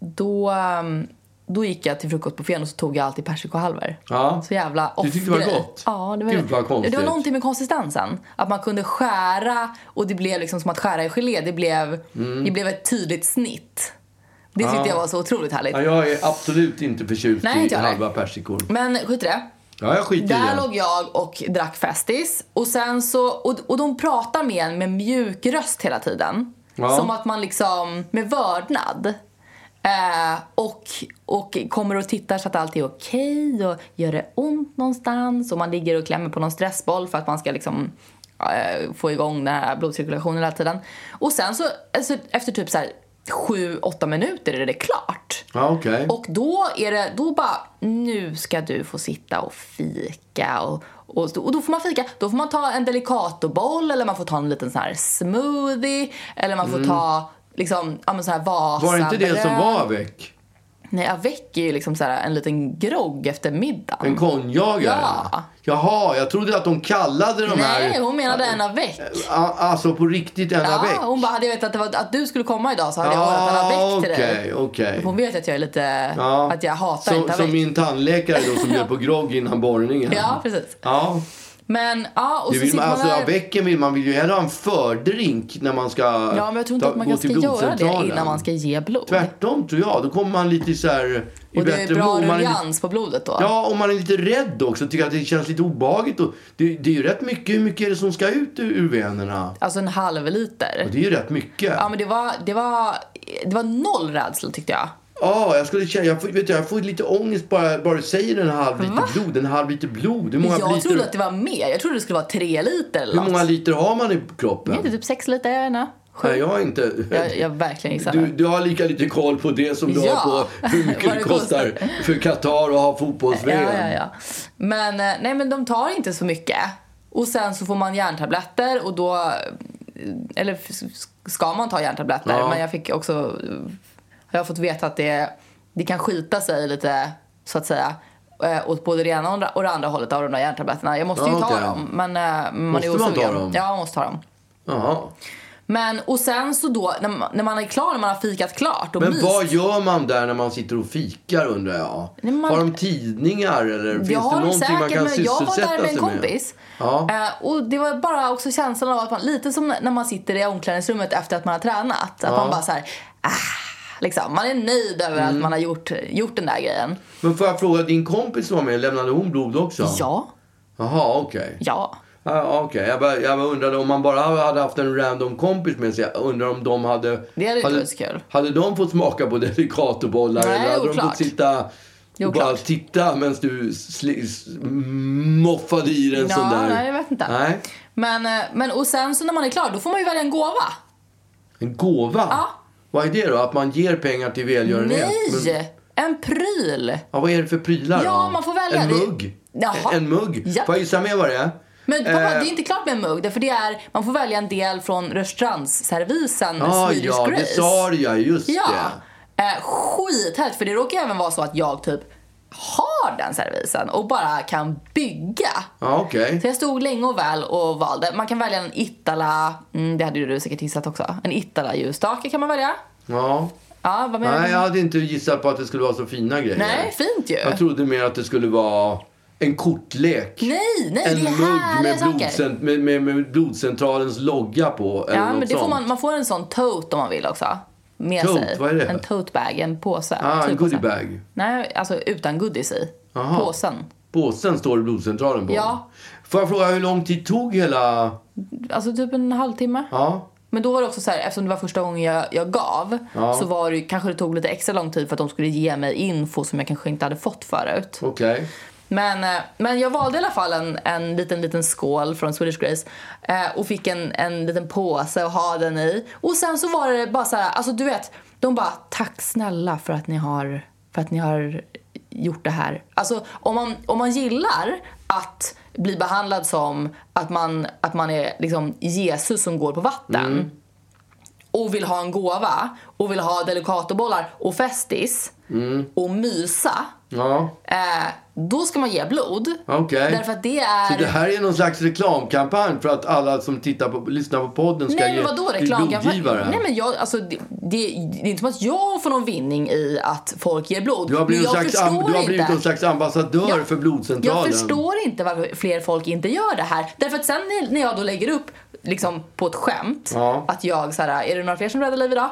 [SPEAKER 2] då, ehm, då gick jag till frukostbuffén och så tog jag alltid persikohalvor.
[SPEAKER 1] Ja.
[SPEAKER 2] Så jävla off
[SPEAKER 1] Du tyckte det var gott?
[SPEAKER 2] Ja, det var,
[SPEAKER 1] Gud, vad konstigt.
[SPEAKER 2] det var någonting med konsistensen. Att man kunde skära och det blev liksom som att skära i gelé. Det blev, det blev ett tydligt snitt. Det tyckte jag var så otroligt härligt.
[SPEAKER 1] Mm. Ja, jag är absolut inte förtjust
[SPEAKER 2] Nej,
[SPEAKER 1] i
[SPEAKER 2] inte jag
[SPEAKER 1] halva persikor.
[SPEAKER 2] Men skit i det.
[SPEAKER 1] Ja, jag skiter i
[SPEAKER 2] Där
[SPEAKER 1] det.
[SPEAKER 2] låg jag och drack Festis. Och, sen så, och, och de pratar med en med mjuk röst hela tiden.
[SPEAKER 1] Ja.
[SPEAKER 2] Som att man liksom, med vördnad. Eh, och, och kommer och tittar så att allt är okej och gör det ont någonstans. Och man ligger och klämmer på någon stressboll för att man ska liksom eh, få igång den här blodcirkulationen hela tiden. Och sen så, alltså, efter typ så här 7-8 minuter är det klart.
[SPEAKER 1] Ja, okej.
[SPEAKER 2] Och då är det, då bara, nu ska du få sitta och fika och, och, och då får man fika. Då får man ta en delicatoboll eller man får ta en liten sån här smoothie eller man får ta liksom, ja men så här Vasa
[SPEAKER 1] Mm. Var det inte det som var väck?
[SPEAKER 2] Nej, avec är ju liksom så här en liten grogg efter middagen.
[SPEAKER 1] En konjagare?
[SPEAKER 2] Ja.
[SPEAKER 1] Jaha, jag trodde att de kallade de här...
[SPEAKER 2] Nej, hon menade en avec.
[SPEAKER 1] A- Alltså på riktigt en
[SPEAKER 2] Ja,
[SPEAKER 1] avec?
[SPEAKER 2] hon bara, hade jag vetat att, det var, att du skulle komma idag så hade jag ordnat en
[SPEAKER 1] Ja,
[SPEAKER 2] avec till dig.
[SPEAKER 1] okej, Ah, okej.
[SPEAKER 2] Hon vet att jag är lite,
[SPEAKER 1] Ja.
[SPEAKER 2] att jag hatar
[SPEAKER 1] som,
[SPEAKER 2] inte avec.
[SPEAKER 1] Som min tandläkare då
[SPEAKER 2] <laughs>
[SPEAKER 1] som bjöd på grogg innan borrningen.
[SPEAKER 2] Ja, precis.
[SPEAKER 1] Ja,
[SPEAKER 2] Men, ja, och
[SPEAKER 1] det
[SPEAKER 2] så
[SPEAKER 1] vill
[SPEAKER 2] sitter
[SPEAKER 1] man,
[SPEAKER 2] man
[SPEAKER 1] alltså
[SPEAKER 2] där-
[SPEAKER 1] avecen vill man vill ju hellre ha en fördrink när man ska
[SPEAKER 2] Ja, men jag tror inte
[SPEAKER 1] ta-
[SPEAKER 2] att man
[SPEAKER 1] gå
[SPEAKER 2] kan ska
[SPEAKER 1] till
[SPEAKER 2] göra det
[SPEAKER 1] blodcentralen.
[SPEAKER 2] innan man ska ge blod.
[SPEAKER 1] Tvärtom tror jag, då kommer man lite så här i
[SPEAKER 2] och det är
[SPEAKER 1] bättre
[SPEAKER 2] bra
[SPEAKER 1] mod. Man är lite-
[SPEAKER 2] ruljans på blodet då.
[SPEAKER 1] Ja, om man är lite rädd också, tycker att det känns lite obehagligt. Och det, det är ju rätt mycket, hur mycket är det som ska ut ur, ur venerna?
[SPEAKER 2] Alltså en halv liter.
[SPEAKER 1] Och det är ju rätt mycket.
[SPEAKER 2] Ja men det var, det var, det var noll rädsla tyckte jag.
[SPEAKER 1] Ja, jag skulle känna, jag får, vet du, jag får lite ångest bara, bara du säger en halv liter blod. En halv liter blod. Hur många,
[SPEAKER 2] Jag
[SPEAKER 1] liter,
[SPEAKER 2] trodde att det var mer. Jag trodde det skulle vara tre liter eller
[SPEAKER 1] hur
[SPEAKER 2] något.
[SPEAKER 1] många liter har man i kroppen?
[SPEAKER 2] Jag vet inte, typ sex liter, jag vet inte. Sju.
[SPEAKER 1] Nej, jag har inte.
[SPEAKER 2] jag, jag verkligen gissar.
[SPEAKER 1] Du, du har lika lite koll på det som du
[SPEAKER 2] Ja.
[SPEAKER 1] har på hur mycket
[SPEAKER 2] <laughs> Vad
[SPEAKER 1] det
[SPEAKER 2] det
[SPEAKER 1] kostar för Qatar att ha fotbolls
[SPEAKER 2] Ja, ja, ja. Men, eh, nej, men de tar inte så mycket. Och sen så får man järntabletter och då... eh, Eller f- ska man ta järntabletter?
[SPEAKER 1] Ja.
[SPEAKER 2] Men jag fick också... eh, Jag har fått veta att det, det kan skita sig lite, så att säga. eh, Åt både det ena och det- och det andra hållet av de där järntabletterna. Jag måste ju
[SPEAKER 1] Ja,
[SPEAKER 2] ta
[SPEAKER 1] okej.
[SPEAKER 2] dem. Men eh, man
[SPEAKER 1] Måste
[SPEAKER 2] är
[SPEAKER 1] man ta
[SPEAKER 2] osugen.
[SPEAKER 1] dem?
[SPEAKER 2] Ja, man måste ta dem.
[SPEAKER 1] Jaha.
[SPEAKER 2] Men, och sen så då, när man, när man är klar, när man har fikat klart och
[SPEAKER 1] Men
[SPEAKER 2] myst-
[SPEAKER 1] vad gör man där när man sitter och fikar undrar jag?
[SPEAKER 2] Nej, men man-
[SPEAKER 1] Har de tidningar eller finns
[SPEAKER 2] Jag
[SPEAKER 1] det
[SPEAKER 2] har
[SPEAKER 1] någonting
[SPEAKER 2] säkert,
[SPEAKER 1] man kan
[SPEAKER 2] men jag var
[SPEAKER 1] sysselsätta
[SPEAKER 2] där med en
[SPEAKER 1] sig
[SPEAKER 2] kompis.
[SPEAKER 1] Ja.
[SPEAKER 2] Eh, och det var bara också känslan av att man, lite som när man sitter i omklädningsrummet efter att man har tränat. Att man bara så här, ah, liksom, man är nöjd över
[SPEAKER 1] Mm.
[SPEAKER 2] att man har gjort, gjort den där grejen.
[SPEAKER 1] Men får jag fråga, din kompis som var med, lämnade hon blod också?
[SPEAKER 2] Ja,
[SPEAKER 1] Jaha, okej.
[SPEAKER 2] ja.
[SPEAKER 1] Ja, okej. Jag, bara, jag bara undrade om man bara hade haft en random kompis med sig. Jag undrar om de hade...
[SPEAKER 2] Det hade inte varit så kul.
[SPEAKER 1] Hade de fått smaka på <laughs> delikatobollar
[SPEAKER 2] Nej,
[SPEAKER 1] eller hade de
[SPEAKER 2] oklart.
[SPEAKER 1] fått sitta
[SPEAKER 2] Det är
[SPEAKER 1] och bara
[SPEAKER 2] oklart.
[SPEAKER 1] titta medan du sli, s- moffade i dig en
[SPEAKER 2] Ja,
[SPEAKER 1] sån där?
[SPEAKER 2] nej, jag vet inte.
[SPEAKER 1] Nej.
[SPEAKER 2] Men, eh, men och sen så när man är klar, då får man ju välja en gåva.
[SPEAKER 1] En gåva?
[SPEAKER 2] Ja.
[SPEAKER 1] Vad är det då? Att man ger pengar till välgörenhet? Men,
[SPEAKER 2] Nej! En pryl!
[SPEAKER 1] ja, vad är det för prylar
[SPEAKER 2] Ja,
[SPEAKER 1] då?
[SPEAKER 2] man får välja.
[SPEAKER 1] En
[SPEAKER 2] Det-
[SPEAKER 1] mugg?
[SPEAKER 2] Jaha.
[SPEAKER 1] En, en mugg?
[SPEAKER 2] Ja.
[SPEAKER 1] Får jag gissa med vad det är?
[SPEAKER 2] Men pappa, det är inte klart med en mugg. För det är, man får välja en del från restaurangsservisen
[SPEAKER 1] Ah,
[SPEAKER 2] Swedish
[SPEAKER 1] ja,
[SPEAKER 2] Grace.
[SPEAKER 1] det sa jag just
[SPEAKER 2] Ja.
[SPEAKER 1] det.
[SPEAKER 2] Eh, skithärligt, för det råkar även vara så att jag typ har den servisen och bara kan bygga.
[SPEAKER 1] Ja, okej.
[SPEAKER 2] Så jag stod länge och väl och valde. Man kan välja en Itala, mm, det hade ju du säkert gissat också. En Itala ljusstake kan man välja.
[SPEAKER 1] Ja.
[SPEAKER 2] Ja, vad menar
[SPEAKER 1] Nej,
[SPEAKER 2] du?
[SPEAKER 1] jag hade inte gissat på att det skulle vara så fina grejer.
[SPEAKER 2] Nej, fint ju.
[SPEAKER 1] Jag trodde mer att det skulle vara en kortlek.
[SPEAKER 2] Nej, nej,
[SPEAKER 1] en
[SPEAKER 2] det är
[SPEAKER 1] mugg
[SPEAKER 2] härliga
[SPEAKER 1] med,
[SPEAKER 2] saker.
[SPEAKER 1] blodcent- med, med, med blodcentralens logga på. Eller
[SPEAKER 2] Ja,
[SPEAKER 1] något
[SPEAKER 2] men det får
[SPEAKER 1] sånt.
[SPEAKER 2] man, man får en sån tote om man vill också. Med
[SPEAKER 1] Tote,
[SPEAKER 2] sig.
[SPEAKER 1] vad är det?
[SPEAKER 2] En tote bag, en påse.
[SPEAKER 1] Ah, en
[SPEAKER 2] tygpåse.
[SPEAKER 1] goodiebag.
[SPEAKER 2] Nej, alltså utan goodies i.
[SPEAKER 1] Aha.
[SPEAKER 2] Påsen.
[SPEAKER 1] Påsen står det blodcentralen på.
[SPEAKER 2] Ja.
[SPEAKER 1] Får jag fråga hur lång tid tog hela...
[SPEAKER 2] Alltså typ en halvtimme.
[SPEAKER 1] Ja.
[SPEAKER 2] Men då var det också så här, eftersom det var första gången jag, jag gav
[SPEAKER 1] Ja.
[SPEAKER 2] så var det, ju- kanske det tog lite extra lång tid för att de skulle ge mig info som jag kanske inte hade fått förut.
[SPEAKER 1] Okej.
[SPEAKER 2] Men, eh, men jag valde i alla fall en, en liten, liten skål från Swedish Grace eh, och fick en, en liten påse att ha den i. Och sen så var det bara så här, alltså du vet, de bara tack snälla för att ni har, för att ni har gjort det här. Alltså om man, om man gillar att bli behandlad som att man, att man är liksom Jesus som går på vatten och vill ha en gåva och vill ha delikatobollar och festis och mysa
[SPEAKER 1] Ja.
[SPEAKER 2] eh, då ska man ge blod.
[SPEAKER 1] Okej.
[SPEAKER 2] Därför att det är...
[SPEAKER 1] Så det här är någon slags reklamkampanj för att alla som tittar på, lyssnar på podden ska
[SPEAKER 2] Nej
[SPEAKER 1] ge
[SPEAKER 2] men vadå
[SPEAKER 1] till
[SPEAKER 2] reklamkampanj?
[SPEAKER 1] blodgivare?
[SPEAKER 2] Nej men jag, alltså det, det, det är inte som att jag får någon vinning i att folk ger blod.
[SPEAKER 1] Du har blivit,
[SPEAKER 2] men jag
[SPEAKER 1] någon, slags,
[SPEAKER 2] förstår
[SPEAKER 1] am- du har blivit
[SPEAKER 2] inte.
[SPEAKER 1] någon slags ambassadör
[SPEAKER 2] Ja.
[SPEAKER 1] för blodcentralen.
[SPEAKER 2] Jag förstår inte varför fler folk inte gör det här. Därför att sen när- när jag då lägger upp liksom på ett skämt
[SPEAKER 1] Ja.
[SPEAKER 2] att jag så här, är det några fler som räddar liv idag?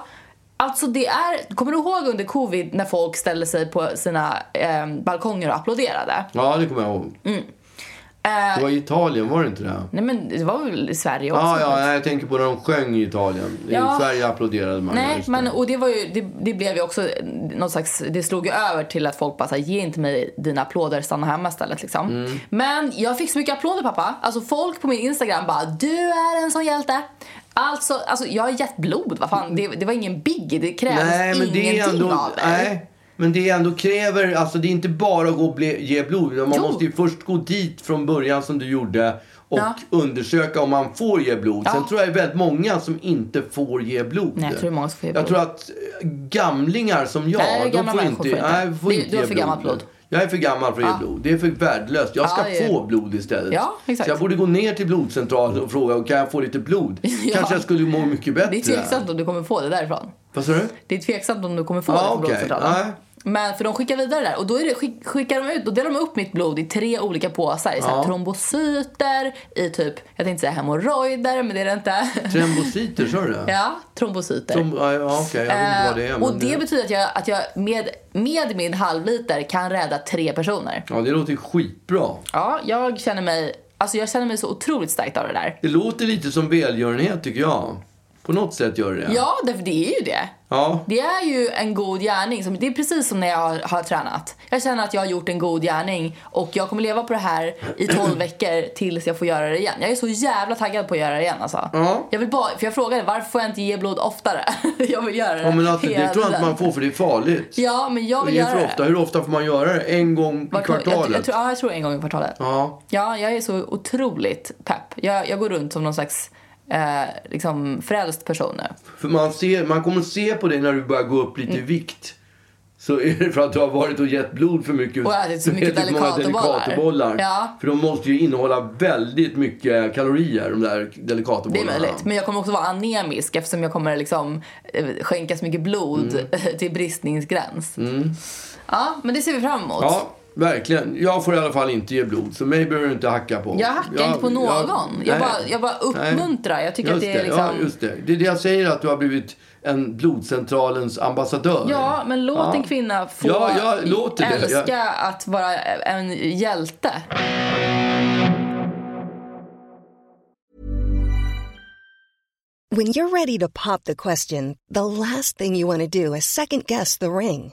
[SPEAKER 2] Alltså det är, kommer du ihåg under covid när folk ställde sig på sina eh, balkonger och applåderade?
[SPEAKER 1] Ja, det kommer jag ihåg.
[SPEAKER 2] Mm. Eh,
[SPEAKER 1] Det var i Italien, var det inte det?
[SPEAKER 2] nej men det var väl i Sverige också?
[SPEAKER 1] Ja, ja, nej, jag tänker på när de sjöng i Italien.
[SPEAKER 2] Ja.
[SPEAKER 1] I Sverige applåderade man. ja,
[SPEAKER 2] Nej,
[SPEAKER 1] just det.
[SPEAKER 2] men och det var ju, det, det blev ju också någon slags, det slog ju över till att folk bara såhär, ge inte mig dina applåder, stanna hemma istället liksom.
[SPEAKER 1] Mm.
[SPEAKER 2] Men jag fick så mycket applåder pappa. Alltså folk på min Instagram bara, du är en sån hjälte. Alltså, alltså jag har gett blod, vad fan. Det, det var ingen biggie, det krävdes
[SPEAKER 1] Nej, men
[SPEAKER 2] ingenting
[SPEAKER 1] det är ändå...
[SPEAKER 2] av dig.
[SPEAKER 1] Nej, men det är ändå kräver... Alltså det är inte bara att gå och bli, ge blod. utan Man
[SPEAKER 2] Jo.
[SPEAKER 1] måste ju först gå dit från början som du gjorde och
[SPEAKER 2] Ja.
[SPEAKER 1] undersöka om man får ge blod. Sen
[SPEAKER 2] Ja.
[SPEAKER 1] tror jag det är väldigt många som inte får ge blod.
[SPEAKER 2] Nej, jag tror det är många som får ge
[SPEAKER 1] Jag
[SPEAKER 2] blod.
[SPEAKER 1] tror att eh, gamlingar som jag,
[SPEAKER 2] Nej,
[SPEAKER 1] de
[SPEAKER 2] gamla
[SPEAKER 1] får
[SPEAKER 2] människor
[SPEAKER 1] inte,
[SPEAKER 2] får inte.
[SPEAKER 1] Nej, får
[SPEAKER 2] Det-
[SPEAKER 1] inte
[SPEAKER 2] du har
[SPEAKER 1] ge
[SPEAKER 2] för gammalt blod.
[SPEAKER 1] Jag är för gammal för att
[SPEAKER 2] Ja.
[SPEAKER 1] ge blod. Det är för värdelöst. Jag ska
[SPEAKER 2] Ja, det är-
[SPEAKER 1] få blod istället.
[SPEAKER 2] Ja, exakt.
[SPEAKER 1] Så jag borde gå ner till blodcentralen och fråga kan jag få lite
[SPEAKER 2] <laughs>
[SPEAKER 1] blod. Kanske jag skulle må mycket bättre.
[SPEAKER 2] Det är tveksamt om du kommer få det därifrån.
[SPEAKER 1] Vad sa du?
[SPEAKER 2] Det är tveksamt om du kommer få
[SPEAKER 1] Ja,
[SPEAKER 2] det från
[SPEAKER 1] Ah, okej.
[SPEAKER 2] blodcentralen.
[SPEAKER 1] Nej.
[SPEAKER 2] Men för de skickar vidare det där och då är det, skick, skickar de ut, då delar de upp mitt blod i tre olika påsar. I så här
[SPEAKER 1] Ja.
[SPEAKER 2] trombocyter, i typ, jag tänkte säga hemorrojder men det är det inte.
[SPEAKER 1] Trembociter, sa du det?
[SPEAKER 2] <laughs> ja, trombocyter.
[SPEAKER 1] Som, ja, ja, okej, jag vet inte vad det är.
[SPEAKER 2] Eh,
[SPEAKER 1] Men
[SPEAKER 2] och det betyder att jag, att jag med, med min halvliter kan rädda tre personer.
[SPEAKER 1] ja, det låter ju skitbra.
[SPEAKER 2] Ja, jag känner mig, alltså jag känner mig så otroligt starkt av det där.
[SPEAKER 1] Det låter lite som välgörenhet tycker jag. På något sätt gör det det.
[SPEAKER 2] Ja, därför det är ju det.
[SPEAKER 1] Ja.
[SPEAKER 2] Det är ju en god gärning. Som, det är precis som när jag har, har tränat. Jag känner att jag har gjort en god gärning och jag kommer leva på det här i 12 veckor tills jag får göra det igen. Jag är så jävla taggad på att göra det igen alltså.
[SPEAKER 1] Ja.
[SPEAKER 2] Jag vill bara, för jag frågade varför får jag inte ge blod oftare? <laughs> jag vill göra det
[SPEAKER 1] ja men alltså, det
[SPEAKER 2] hela
[SPEAKER 1] tror jag inte
[SPEAKER 2] tiden.
[SPEAKER 1] man får för det är farligt.
[SPEAKER 2] Ja, men jag vill
[SPEAKER 1] det är
[SPEAKER 2] göra
[SPEAKER 1] för
[SPEAKER 2] det.
[SPEAKER 1] ofta. Hur ofta får man göra det? En gång i
[SPEAKER 2] Vart-
[SPEAKER 1] kvartalet?
[SPEAKER 2] Jag, jag, tror, ja, jag tror en gång i kvartalet.
[SPEAKER 1] Ja.
[SPEAKER 2] Ja, jag är så otroligt pepp. Jag, jag går runt som någon slags eh, liksom frälst person nu.
[SPEAKER 1] För man, ser, man kommer se på dig när du börjar gå upp lite i
[SPEAKER 2] Mm.
[SPEAKER 1] vikt. Så är det för att du har varit och gett blod för mycket.
[SPEAKER 2] Och
[SPEAKER 1] <laughs>
[SPEAKER 2] ätit så mycket
[SPEAKER 1] ätit många
[SPEAKER 2] delikatobollar.
[SPEAKER 1] delikatobollar.
[SPEAKER 2] Ja.
[SPEAKER 1] För de måste ju innehålla väldigt mycket kalorier, de där
[SPEAKER 2] Det är
[SPEAKER 1] delikatobollarna.
[SPEAKER 2] möjligt. Men jag kommer också vara anemisk eftersom jag kommer liksom eh, skänka så mycket blod
[SPEAKER 1] Mm.
[SPEAKER 2] <laughs> till bristningsgräns. Ja, men det ser vi fram emot.
[SPEAKER 1] Ja, verkligen. Jag får i alla fall inte ge blod, så mig behöver du inte hacka på.
[SPEAKER 2] Jag hackar inte på någon. Jag,
[SPEAKER 1] nej.
[SPEAKER 2] bara, jag bara uppmuntrar.
[SPEAKER 1] Nej.
[SPEAKER 2] Jag tycker
[SPEAKER 1] just
[SPEAKER 2] att det är
[SPEAKER 1] Ja,
[SPEAKER 2] liksom... Ja,
[SPEAKER 1] just det. Det är det jag säger, att du har blivit en blodcentralens ambassadör.
[SPEAKER 2] men låt
[SPEAKER 1] Ja.
[SPEAKER 2] en kvinna få
[SPEAKER 1] Ja, ja, låt det.
[SPEAKER 2] älska
[SPEAKER 1] Jag-
[SPEAKER 2] att vara en hjälte.
[SPEAKER 4] When you're ready to pop the question, the last thing you want to do is second guess the ring.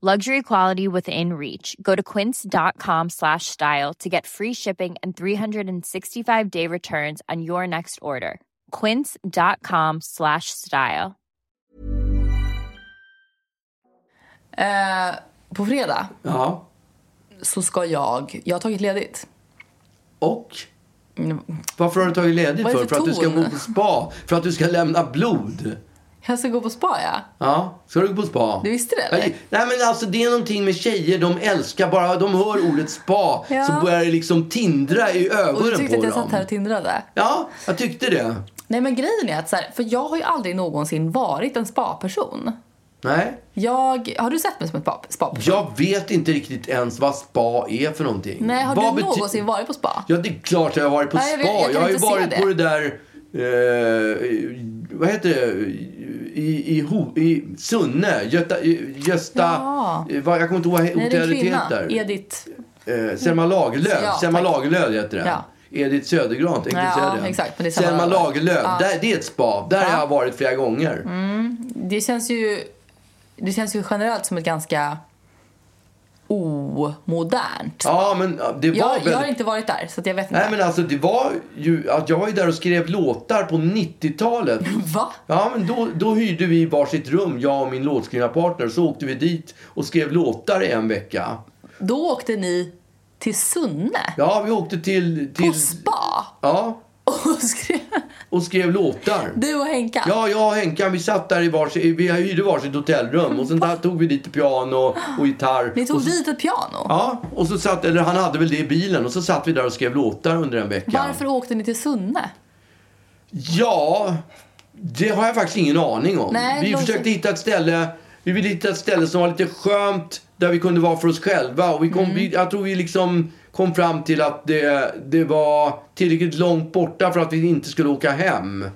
[SPEAKER 5] Luxury quality within reach. Go to quince.com slash style to get free shipping and 365 day returns on your next order. Quince.com slash style.
[SPEAKER 2] Eh, på fredag
[SPEAKER 1] Ja.
[SPEAKER 2] så ska jag... Jag har tagit ledigt. Mm.
[SPEAKER 1] Och? Varför har du tagit ledigt
[SPEAKER 2] Vad är
[SPEAKER 1] för?
[SPEAKER 2] det
[SPEAKER 1] För
[SPEAKER 2] för
[SPEAKER 1] att du ska
[SPEAKER 2] ton?
[SPEAKER 1] gå på spa? För att du ska lämna blod?
[SPEAKER 2] Jag ska gå på spa, ja.
[SPEAKER 1] Ja, ska du gå på spa?
[SPEAKER 2] Du visste det, eller?
[SPEAKER 1] Nej men alltså det är någonting med tjejer, de älskar bara, de hör ordet spa
[SPEAKER 2] Ja.
[SPEAKER 1] så börjar det liksom tindra i ögonen
[SPEAKER 2] Och du tyckte
[SPEAKER 1] på
[SPEAKER 2] att jag
[SPEAKER 1] dem.
[SPEAKER 2] satt här och tindrade.
[SPEAKER 1] Ja, jag tyckte det.
[SPEAKER 2] Nej men grejen är att så här, för jag har ju aldrig någonsin varit en spa-person.
[SPEAKER 1] Nej,
[SPEAKER 2] Jag, har du sett mig som en spa- spa-person?
[SPEAKER 1] jag vet inte riktigt ens vad spa är för någonting.
[SPEAKER 2] Nej, har
[SPEAKER 1] Vad
[SPEAKER 2] du
[SPEAKER 1] bety-
[SPEAKER 2] någonsin varit på spa?
[SPEAKER 1] Ja, det är klart jag har varit på
[SPEAKER 2] Nej, jag vet-
[SPEAKER 1] spa.
[SPEAKER 2] jag
[SPEAKER 1] Jag,
[SPEAKER 2] kan
[SPEAKER 1] har ju
[SPEAKER 2] inte se
[SPEAKER 1] varit
[SPEAKER 2] det.
[SPEAKER 1] på det där, eh, vad heter det, i, i, Ho- i Sunne, Göta, i- Gösta,
[SPEAKER 2] Ja.
[SPEAKER 1] eh, vad- jag kommer inte ihåg vad he-
[SPEAKER 2] Nej, det är en
[SPEAKER 1] hotellet
[SPEAKER 2] kvinna.
[SPEAKER 1] heter.
[SPEAKER 2] Edith.
[SPEAKER 1] Eh, Selma Lagerlöf.
[SPEAKER 2] Ja,
[SPEAKER 1] Selma
[SPEAKER 2] tack.
[SPEAKER 1] Lagerlöf heter den.
[SPEAKER 2] Ja.
[SPEAKER 1] Edith Södergran tänkte jag
[SPEAKER 2] Ja,
[SPEAKER 1] säga det.
[SPEAKER 2] exakt, men det är Selma
[SPEAKER 1] Selma
[SPEAKER 2] Lagerlöf.
[SPEAKER 1] Lagerlöf. Där, det är ett spa. Där har
[SPEAKER 2] Ja. Mm.
[SPEAKER 1] jag varit flera gånger.
[SPEAKER 2] Det känns ju, det känns ju generellt som ett ganska omodernt spa.
[SPEAKER 1] Ja, men ja, det var
[SPEAKER 2] jag,
[SPEAKER 1] väldigt...
[SPEAKER 2] jag har inte varit där så att jag vet inte.
[SPEAKER 1] Nej, men alltså det var ju... Att jag var ju där och skrev låtar på
[SPEAKER 2] <laughs>
[SPEAKER 1] 90-talet.
[SPEAKER 2] Va?
[SPEAKER 1] Ja, men då, då hyrde vi varsitt rum, jag och min låtskrivarpartner. Så åkte vi dit och skrev låtar i en vecka.
[SPEAKER 2] Då åkte ni till Sunne?
[SPEAKER 1] Ja, vi åkte till... till
[SPEAKER 2] På spa? <laughs>
[SPEAKER 1] ja,
[SPEAKER 2] Och skrev,
[SPEAKER 1] och skrev låtar.
[SPEAKER 2] du och Henka?
[SPEAKER 1] Ja, jag och Henkan vi satt där i varsin, vi hyrde varsitt hotellrum och sen där tog vi dit piano och gitarr.
[SPEAKER 2] Ni tog
[SPEAKER 1] och så,
[SPEAKER 2] dit ett piano?
[SPEAKER 1] Ja, och så satt, eller han hade väl det i bilen och så satt vi där och skrev låtar under en vecka.
[SPEAKER 2] Varför åkte ni till Sunne?
[SPEAKER 1] Ja, det har jag faktiskt ingen aning om.
[SPEAKER 2] Nej,
[SPEAKER 1] vi
[SPEAKER 2] låt-
[SPEAKER 1] försökte hitta ett ställe, vi ville hitta ett ställe som var lite skönt där vi kunde vara för oss själva och vi kom,
[SPEAKER 2] Mm.
[SPEAKER 1] vi, jag tror vi liksom kom fram till att det, det var tillräckligt långt borta för att vi inte skulle åka hem.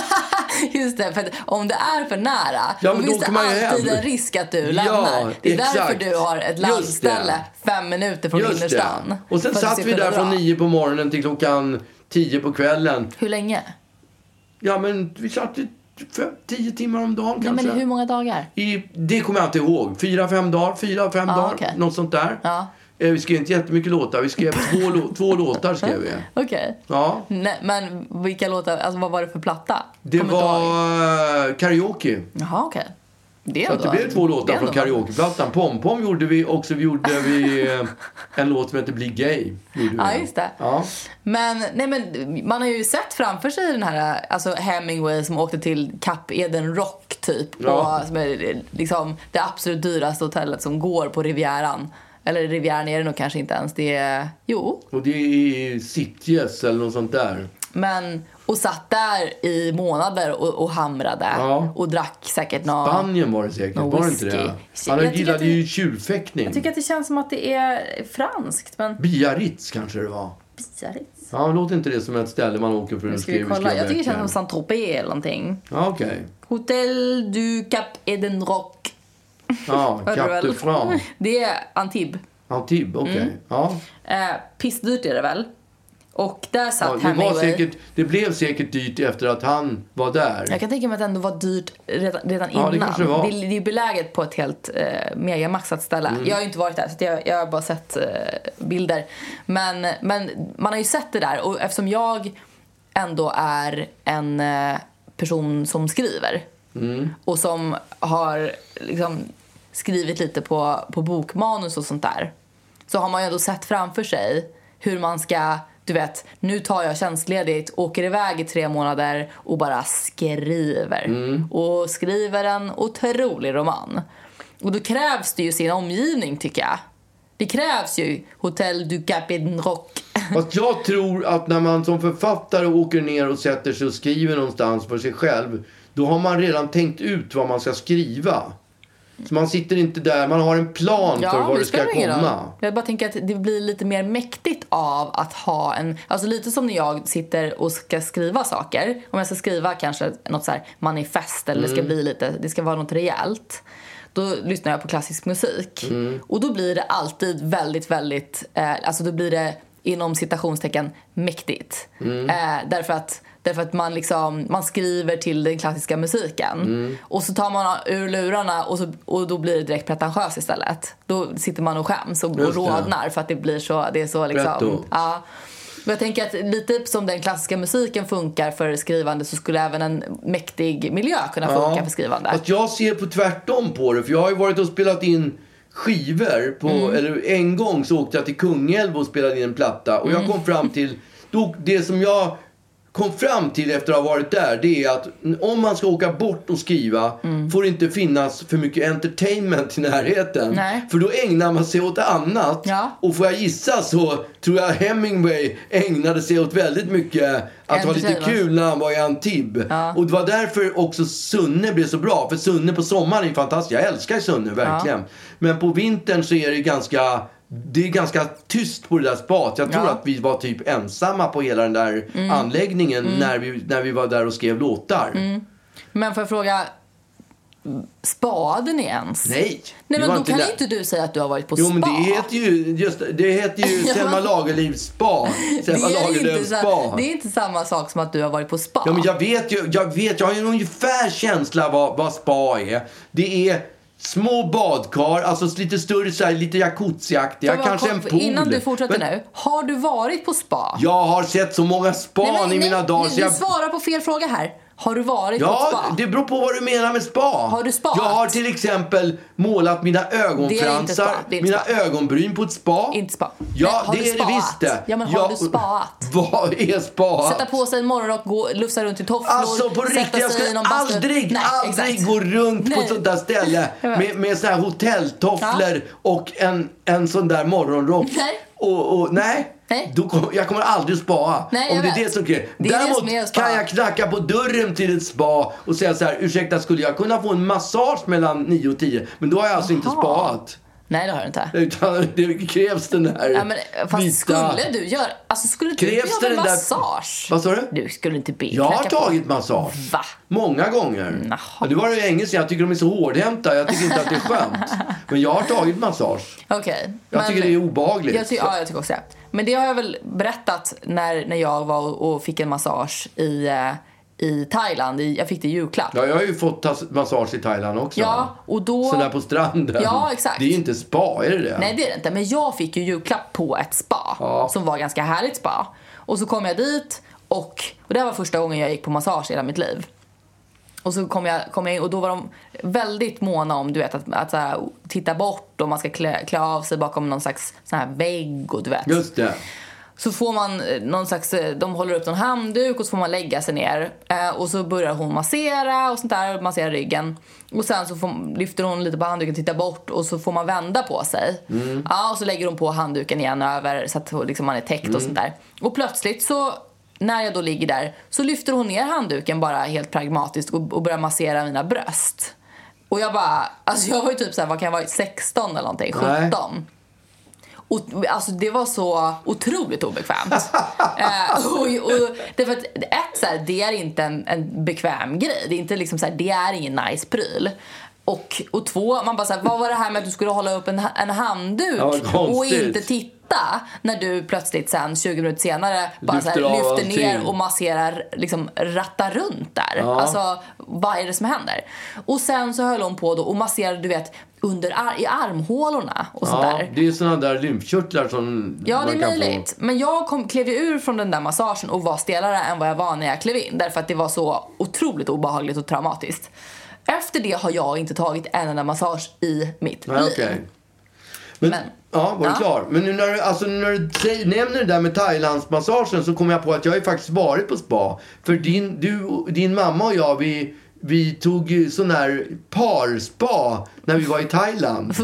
[SPEAKER 2] <laughs> Just det, för att om det är för nära
[SPEAKER 1] Ja, men då
[SPEAKER 2] då finns
[SPEAKER 1] åker
[SPEAKER 2] det
[SPEAKER 1] man ju
[SPEAKER 2] alltid
[SPEAKER 1] hem.
[SPEAKER 2] en risk att du
[SPEAKER 1] Ja,
[SPEAKER 2] lämnar. Det är
[SPEAKER 1] exakt.
[SPEAKER 2] därför du har ett
[SPEAKER 1] Just
[SPEAKER 2] landställe fem minuter från innerstan.
[SPEAKER 1] det. Och sen
[SPEAKER 2] För att
[SPEAKER 1] satt
[SPEAKER 2] det
[SPEAKER 1] vi
[SPEAKER 2] ska
[SPEAKER 1] där
[SPEAKER 2] kunna
[SPEAKER 1] från
[SPEAKER 2] dra.
[SPEAKER 1] nio på morgonen till klockan tio på kvällen.
[SPEAKER 2] Hur länge?
[SPEAKER 1] Ja, men vi satt i fem, tio timmar om dagen
[SPEAKER 2] Nej,
[SPEAKER 1] kanske.
[SPEAKER 2] men hur många dagar?
[SPEAKER 1] I, det kommer jag inte ihåg. Fyra, fem dagar. Fyra, fem
[SPEAKER 2] Ja,
[SPEAKER 1] dagar.
[SPEAKER 2] okej.
[SPEAKER 1] Något sånt där.
[SPEAKER 2] Ja.
[SPEAKER 1] Eh, vi skrev inte jättemycket låtar. Vi skrev två,
[SPEAKER 2] <laughs>
[SPEAKER 1] lå- två låtar. skrev vi.
[SPEAKER 2] Okej.
[SPEAKER 1] Ja.
[SPEAKER 2] Nej, men vilka låtar, alltså vad var det för platta?
[SPEAKER 1] Det
[SPEAKER 2] Kommer inte
[SPEAKER 1] var
[SPEAKER 2] ihåg.
[SPEAKER 1] eh, karaoke.
[SPEAKER 2] Jaha, okej. Det är
[SPEAKER 1] Så att det
[SPEAKER 2] ändå-
[SPEAKER 1] blev två
[SPEAKER 2] det är
[SPEAKER 1] låtar från
[SPEAKER 2] ändå-
[SPEAKER 1] karaokeplattan. Pom-pom gjorde vi och så gjorde vi eh, en låt som heter Bli gay. Gjorde vi.
[SPEAKER 2] Ja, just det.
[SPEAKER 1] Ja.
[SPEAKER 2] Men, nej, men man har ju sett framför sig den här alltså Hemingway som åkte till Kapeden Rock typ. På,
[SPEAKER 1] Ja.
[SPEAKER 2] Som är liksom det absolut dyraste hotellet som går på Rivieran. Eller Rivieran är det nog kanske inte ens. Det är, jo.
[SPEAKER 1] Och det är i Sitges eller något sånt där.
[SPEAKER 2] Men, och satt där i månader och, och hamrade.
[SPEAKER 1] Ja.
[SPEAKER 2] Och drack säkert någon...
[SPEAKER 1] Spanien var det säkert,
[SPEAKER 2] Någon
[SPEAKER 1] var det inte det?
[SPEAKER 2] whisky.
[SPEAKER 1] Han
[SPEAKER 2] Jag tycker
[SPEAKER 1] gillade
[SPEAKER 2] att det-
[SPEAKER 1] ju tjurfäktning.
[SPEAKER 2] att det känns som att det är franskt men
[SPEAKER 1] Biarritz kanske det var.
[SPEAKER 2] bizarrt.
[SPEAKER 1] Ja, låter inte det som ett ställe man åker för att
[SPEAKER 2] Ska vi
[SPEAKER 1] skriva
[SPEAKER 2] kolla?
[SPEAKER 1] skriva
[SPEAKER 2] Jag tycker det
[SPEAKER 1] böcker?
[SPEAKER 2] känns som Saint Tropez eller någonting.
[SPEAKER 1] Ja, okej.
[SPEAKER 2] Hotel du Cap Eden Rock. <laughs>
[SPEAKER 1] Ja,
[SPEAKER 2] Hörde du
[SPEAKER 1] Cap
[SPEAKER 2] väl?
[SPEAKER 1] de France.
[SPEAKER 2] Det är Antibes.
[SPEAKER 1] Antibes, okej. Ja.
[SPEAKER 2] Eh, pissdyrt är det väl? Och där
[SPEAKER 1] Ja,
[SPEAKER 2] satt
[SPEAKER 1] det, var
[SPEAKER 2] Hemingway.
[SPEAKER 1] säkert, det blev säkert dyrt efter att han var där.
[SPEAKER 2] Jag kan tänka mig att det ändå var dyrt redan, redan
[SPEAKER 1] Ja, det
[SPEAKER 2] innan.
[SPEAKER 1] kanske det var.
[SPEAKER 2] det är ju beläget på ett helt eh, megamaxat ställe.
[SPEAKER 1] Mm.
[SPEAKER 2] Jag har ju inte varit där så att jag, jag har bara sett eh, bilder. Men, men man har ju sett det där och eftersom jag ändå är en eh, person som skriver
[SPEAKER 1] Mm.
[SPEAKER 2] och som har liksom, skrivit lite på, på bokmanus och sånt där så har man ju ändå sett framför sig hur man ska du vet, nu tar jag tjänstledigt, åker iväg i tre månader och bara skriver.
[SPEAKER 1] Mm.
[SPEAKER 2] Och skriver en otrolig roman. Och då krävs det ju sin omgivning tycker jag. Det krävs ju Hotel du Capin Rock.
[SPEAKER 1] Fast jag tror att när man som författare åker ner och sätter sig och skriver någonstans för sig själv, då har man redan tänkt ut vad man ska skriva. Så man sitter inte där, man har en plan för var
[SPEAKER 2] men
[SPEAKER 1] det ska
[SPEAKER 2] spelar ingen roll.
[SPEAKER 1] komma.
[SPEAKER 2] Jag bara tänker att det blir lite mer mäktigt av att ha en... Alltså lite som när jag sitter och ska skriva saker. Om jag ska skriva kanske något så här manifest eller det ska bli lite, det ska vara något rejält. Då lyssnar jag på klassisk musik. Och då blir det alltid väldigt, väldigt... Eh, alltså då blir det inom citationstecken mäktigt. Eh, därför att Därför att man, liksom, man skriver till den klassiska musiken. Och så tar man ur lurarna och, så, och då blir det direkt pretentiöst istället. Då sitter man och skäms och, och
[SPEAKER 1] Just det.
[SPEAKER 2] rodnar för att det blir så, det är så liksom.
[SPEAKER 1] Pretto.
[SPEAKER 2] Ja. Men jag tänker att lite som den klassiska musiken funkar för skrivande så skulle även en mäktig miljö kunna funka för skrivande.
[SPEAKER 1] Fast jag ser på tvärtom på det. För jag har ju varit och spelat in skivor. På,
[SPEAKER 2] Mm.
[SPEAKER 1] eller en gång så åkte jag till Kungälv och spelade in en platta. Och jag
[SPEAKER 2] Mm.
[SPEAKER 1] kom fram till... Då, det som jag kom fram till efter att ha varit där. Det är att om man ska åka bort och skriva.
[SPEAKER 2] Mm.
[SPEAKER 1] Får det inte finnas för mycket entertainment i närheten.
[SPEAKER 2] Nej.
[SPEAKER 1] För då ägnar man sig åt annat.
[SPEAKER 2] Ja.
[SPEAKER 1] Och får jag gissa så tror jag Hemingway ägnade sig åt väldigt mycket att ha lite
[SPEAKER 2] Entertainment.
[SPEAKER 1] kul kul när han var i Antibes. Och det var därför också Sunne blev så bra. För Sunne på sommaren är ju fantastisk. Jag älskar Sunne, verkligen. Men på vintern så är det ganska... Det är ganska tyst på det där spat. Jag tror
[SPEAKER 2] Ja. Mm.
[SPEAKER 1] att vi var typ ensamma på hela den där anläggningen När, vi, när vi var där och skrev låtar.
[SPEAKER 2] Men får jag fråga, spade ni ens?
[SPEAKER 1] Nej!
[SPEAKER 2] Nej
[SPEAKER 1] vi
[SPEAKER 2] men
[SPEAKER 1] var
[SPEAKER 2] då kan
[SPEAKER 1] där.
[SPEAKER 2] ju inte du säga att du har varit på
[SPEAKER 1] Jo
[SPEAKER 2] spa.
[SPEAKER 1] men det heter ju, just, det, det heter ju
[SPEAKER 2] <laughs> Ja.
[SPEAKER 1] Selma Lagerlöfs spa.
[SPEAKER 2] Det
[SPEAKER 1] Selma
[SPEAKER 2] är, inte,
[SPEAKER 1] Lagerlöfs spa.
[SPEAKER 2] så- det är inte samma sak som att du har varit på spa.
[SPEAKER 1] Ja, men jag vet ju, jag vet, jag har ju en ungefär känsla vad, vad spa är. Det är små badkar, alltså lite större så här, lite jacuzziaktiga,
[SPEAKER 2] Får jag bara
[SPEAKER 1] kanske en
[SPEAKER 2] kolla-
[SPEAKER 1] pool.
[SPEAKER 2] Innan du fortsätter
[SPEAKER 1] Men
[SPEAKER 2] nu, har du varit på spa?
[SPEAKER 1] Jag har sett så många span i mina dagar
[SPEAKER 2] nu,
[SPEAKER 1] så jag...
[SPEAKER 2] Du svarar på fel fråga här. Har du varit på ett
[SPEAKER 1] Ja,
[SPEAKER 2] spa?
[SPEAKER 1] det beror på vad du menar med spa.
[SPEAKER 2] Har du spat?
[SPEAKER 1] Jag har till exempel målat mina ögonfransar,
[SPEAKER 2] spa, det är inte
[SPEAKER 1] mina
[SPEAKER 2] spa.
[SPEAKER 1] ögonbryn på ett spa.
[SPEAKER 2] Inte spa.
[SPEAKER 1] Ja,
[SPEAKER 2] Men har
[SPEAKER 1] det
[SPEAKER 2] du
[SPEAKER 1] är det visst
[SPEAKER 2] spaat?
[SPEAKER 1] det.
[SPEAKER 2] Ja, men har du spaat?
[SPEAKER 1] <laughs> Vad är spaat?
[SPEAKER 2] Sätta på sig en morgonrock, gå, lufsa runt i tofflor,
[SPEAKER 1] Alltså på
[SPEAKER 2] sätta
[SPEAKER 1] riktigt, jag
[SPEAKER 2] sig i
[SPEAKER 1] skulle
[SPEAKER 2] någon bastu.
[SPEAKER 1] aldrig,
[SPEAKER 2] Nej,
[SPEAKER 1] aldrig
[SPEAKER 2] exakt.
[SPEAKER 1] gå runt på
[SPEAKER 2] Nej.
[SPEAKER 1] ett sånt där
[SPEAKER 2] <laughs>
[SPEAKER 1] ställe
[SPEAKER 2] Jag vet.
[SPEAKER 1] med, med såna här hotelltofflor och en, en sån där morgonrock.
[SPEAKER 2] <laughs> Nej.
[SPEAKER 1] Och, och, nej.
[SPEAKER 2] Nej,
[SPEAKER 1] Då kom, jag kommer aldrig spaa.
[SPEAKER 2] Nej, jag
[SPEAKER 1] om det är
[SPEAKER 2] vet.
[SPEAKER 1] det som krävs.
[SPEAKER 2] Det är det
[SPEAKER 1] Däremot
[SPEAKER 2] som är att spa.
[SPEAKER 1] kan jag knacka på dörren till ett spa och säga så här, ursäkta skulle jag kunna få en massage mellan 9 och 10? Men då har jag alltså inte
[SPEAKER 2] Jaha.
[SPEAKER 1] spaat.
[SPEAKER 2] Nej, det har du inte.
[SPEAKER 1] Utan <laughs> det krävs den här
[SPEAKER 2] Ja, men, fast skulle du göra... Alltså skulle du
[SPEAKER 1] Krävs
[SPEAKER 2] göra
[SPEAKER 1] det
[SPEAKER 2] en
[SPEAKER 1] den där-
[SPEAKER 2] massage?
[SPEAKER 1] Vad sa du?
[SPEAKER 2] Du skulle inte be
[SPEAKER 1] Jag har
[SPEAKER 2] knacka på.
[SPEAKER 1] tagit massage.
[SPEAKER 2] Va?
[SPEAKER 1] Många gånger.
[SPEAKER 2] Jaha.
[SPEAKER 1] Ja, Det var det engelska. Jag tycker de är så hårdhämta. Jag tycker inte att det är
[SPEAKER 2] <laughs>
[SPEAKER 1] skönt. Men jag har tagit massage.
[SPEAKER 2] Okej.
[SPEAKER 1] Jag
[SPEAKER 2] men-
[SPEAKER 1] tycker det är obehagligt.
[SPEAKER 2] Jag ty- ja, jag tycker också det. Men det har jag väl berättat när, när jag var och, och fick en massage i, eh, i Thailand. I, jag fick det i julklapp.
[SPEAKER 1] Ja, jag har ju fått tas- massage i Thailand också.
[SPEAKER 2] Ja, och då-
[SPEAKER 1] Sån där på stranden.
[SPEAKER 2] Ja, exakt.
[SPEAKER 1] Det är inte spa, är det det?
[SPEAKER 2] Nej, det är det inte. Men jag fick ju julklapp på ett spa
[SPEAKER 1] Ja.
[SPEAKER 2] som var ganska härligt spa. Och så kom jag dit och, och det här var första gången jag gick på massage i hela mitt liv. Och så kom jag, kom jag in och då var de väldigt måna om du vet, att, att så här, titta bort och man ska klä, klä av sig bakom någon slags sån här vägg och du vet.
[SPEAKER 1] Just det.
[SPEAKER 2] Så får man eh, någon slags, eh, de håller upp någon handduk och så får man lägga sig ner. Eh, och så börjar hon massera och sånt där, massera ryggen. Och sen så får, lyfter hon lite på handduken, tittar bort och så får man vända på sig. Ja, och så lägger hon på handduken igen över så att liksom man är täckt och sånt där. Och plötsligt så, när jag då ligger där, så lyfter hon ner handduken bara helt pragmatiskt och, och börjar massera mina bröst. Och jag bara, alltså jag var ju typ såhär, vad kan jag vara, 16 eller någonting, 17.
[SPEAKER 1] Nej.
[SPEAKER 2] Och, alltså det var så
[SPEAKER 1] <laughs>
[SPEAKER 2] otroligt obekvämt. eh, och, och, det för att, ett, så här, det är inte en, en bekväm grej. Det är, inte liksom så här, det är ingen nice pryl. Och, och två, man bara så här, vad var det här med att du skulle hålla upp en, ha- en handduk
[SPEAKER 1] Ja, vad
[SPEAKER 2] och
[SPEAKER 1] konstigt.
[SPEAKER 2] inte titta när du plötsligt sen 20 minuter senare bara lyfter, så
[SPEAKER 1] Lyfter av
[SPEAKER 2] här, lyfter ner
[SPEAKER 1] allting.
[SPEAKER 2] och masserar, liksom rattar runt där.
[SPEAKER 1] Ja.
[SPEAKER 2] Alltså vad är det som händer? Och sen så höll hon på då och masserade du vet under ar- i armhålorna och sånt
[SPEAKER 1] Ja,
[SPEAKER 2] där.
[SPEAKER 1] det är såna där lymfkörtlar som
[SPEAKER 2] Ja, det
[SPEAKER 1] man
[SPEAKER 2] är
[SPEAKER 1] kan
[SPEAKER 2] möjligt. Men jag kom, klev ju ur från den där massagen och var stelare än vad jag var när jag klev in. Därför att det var så otroligt obehagligt och traumatiskt. Efter det har jag inte tagit en enda massage i mitt
[SPEAKER 1] få. Nej,
[SPEAKER 2] liv.
[SPEAKER 1] okej. Men,
[SPEAKER 2] Men-
[SPEAKER 1] ja, var du
[SPEAKER 2] Ja.
[SPEAKER 1] klar? Men nu när du, alltså, nu när du säger, nämner det där med Thailandsmassagen så kommer jag på att jag har ju faktiskt varit på spa. För din, du, din mamma och jag, vi, vi tog ju sån här parspa när vi var i Thailand.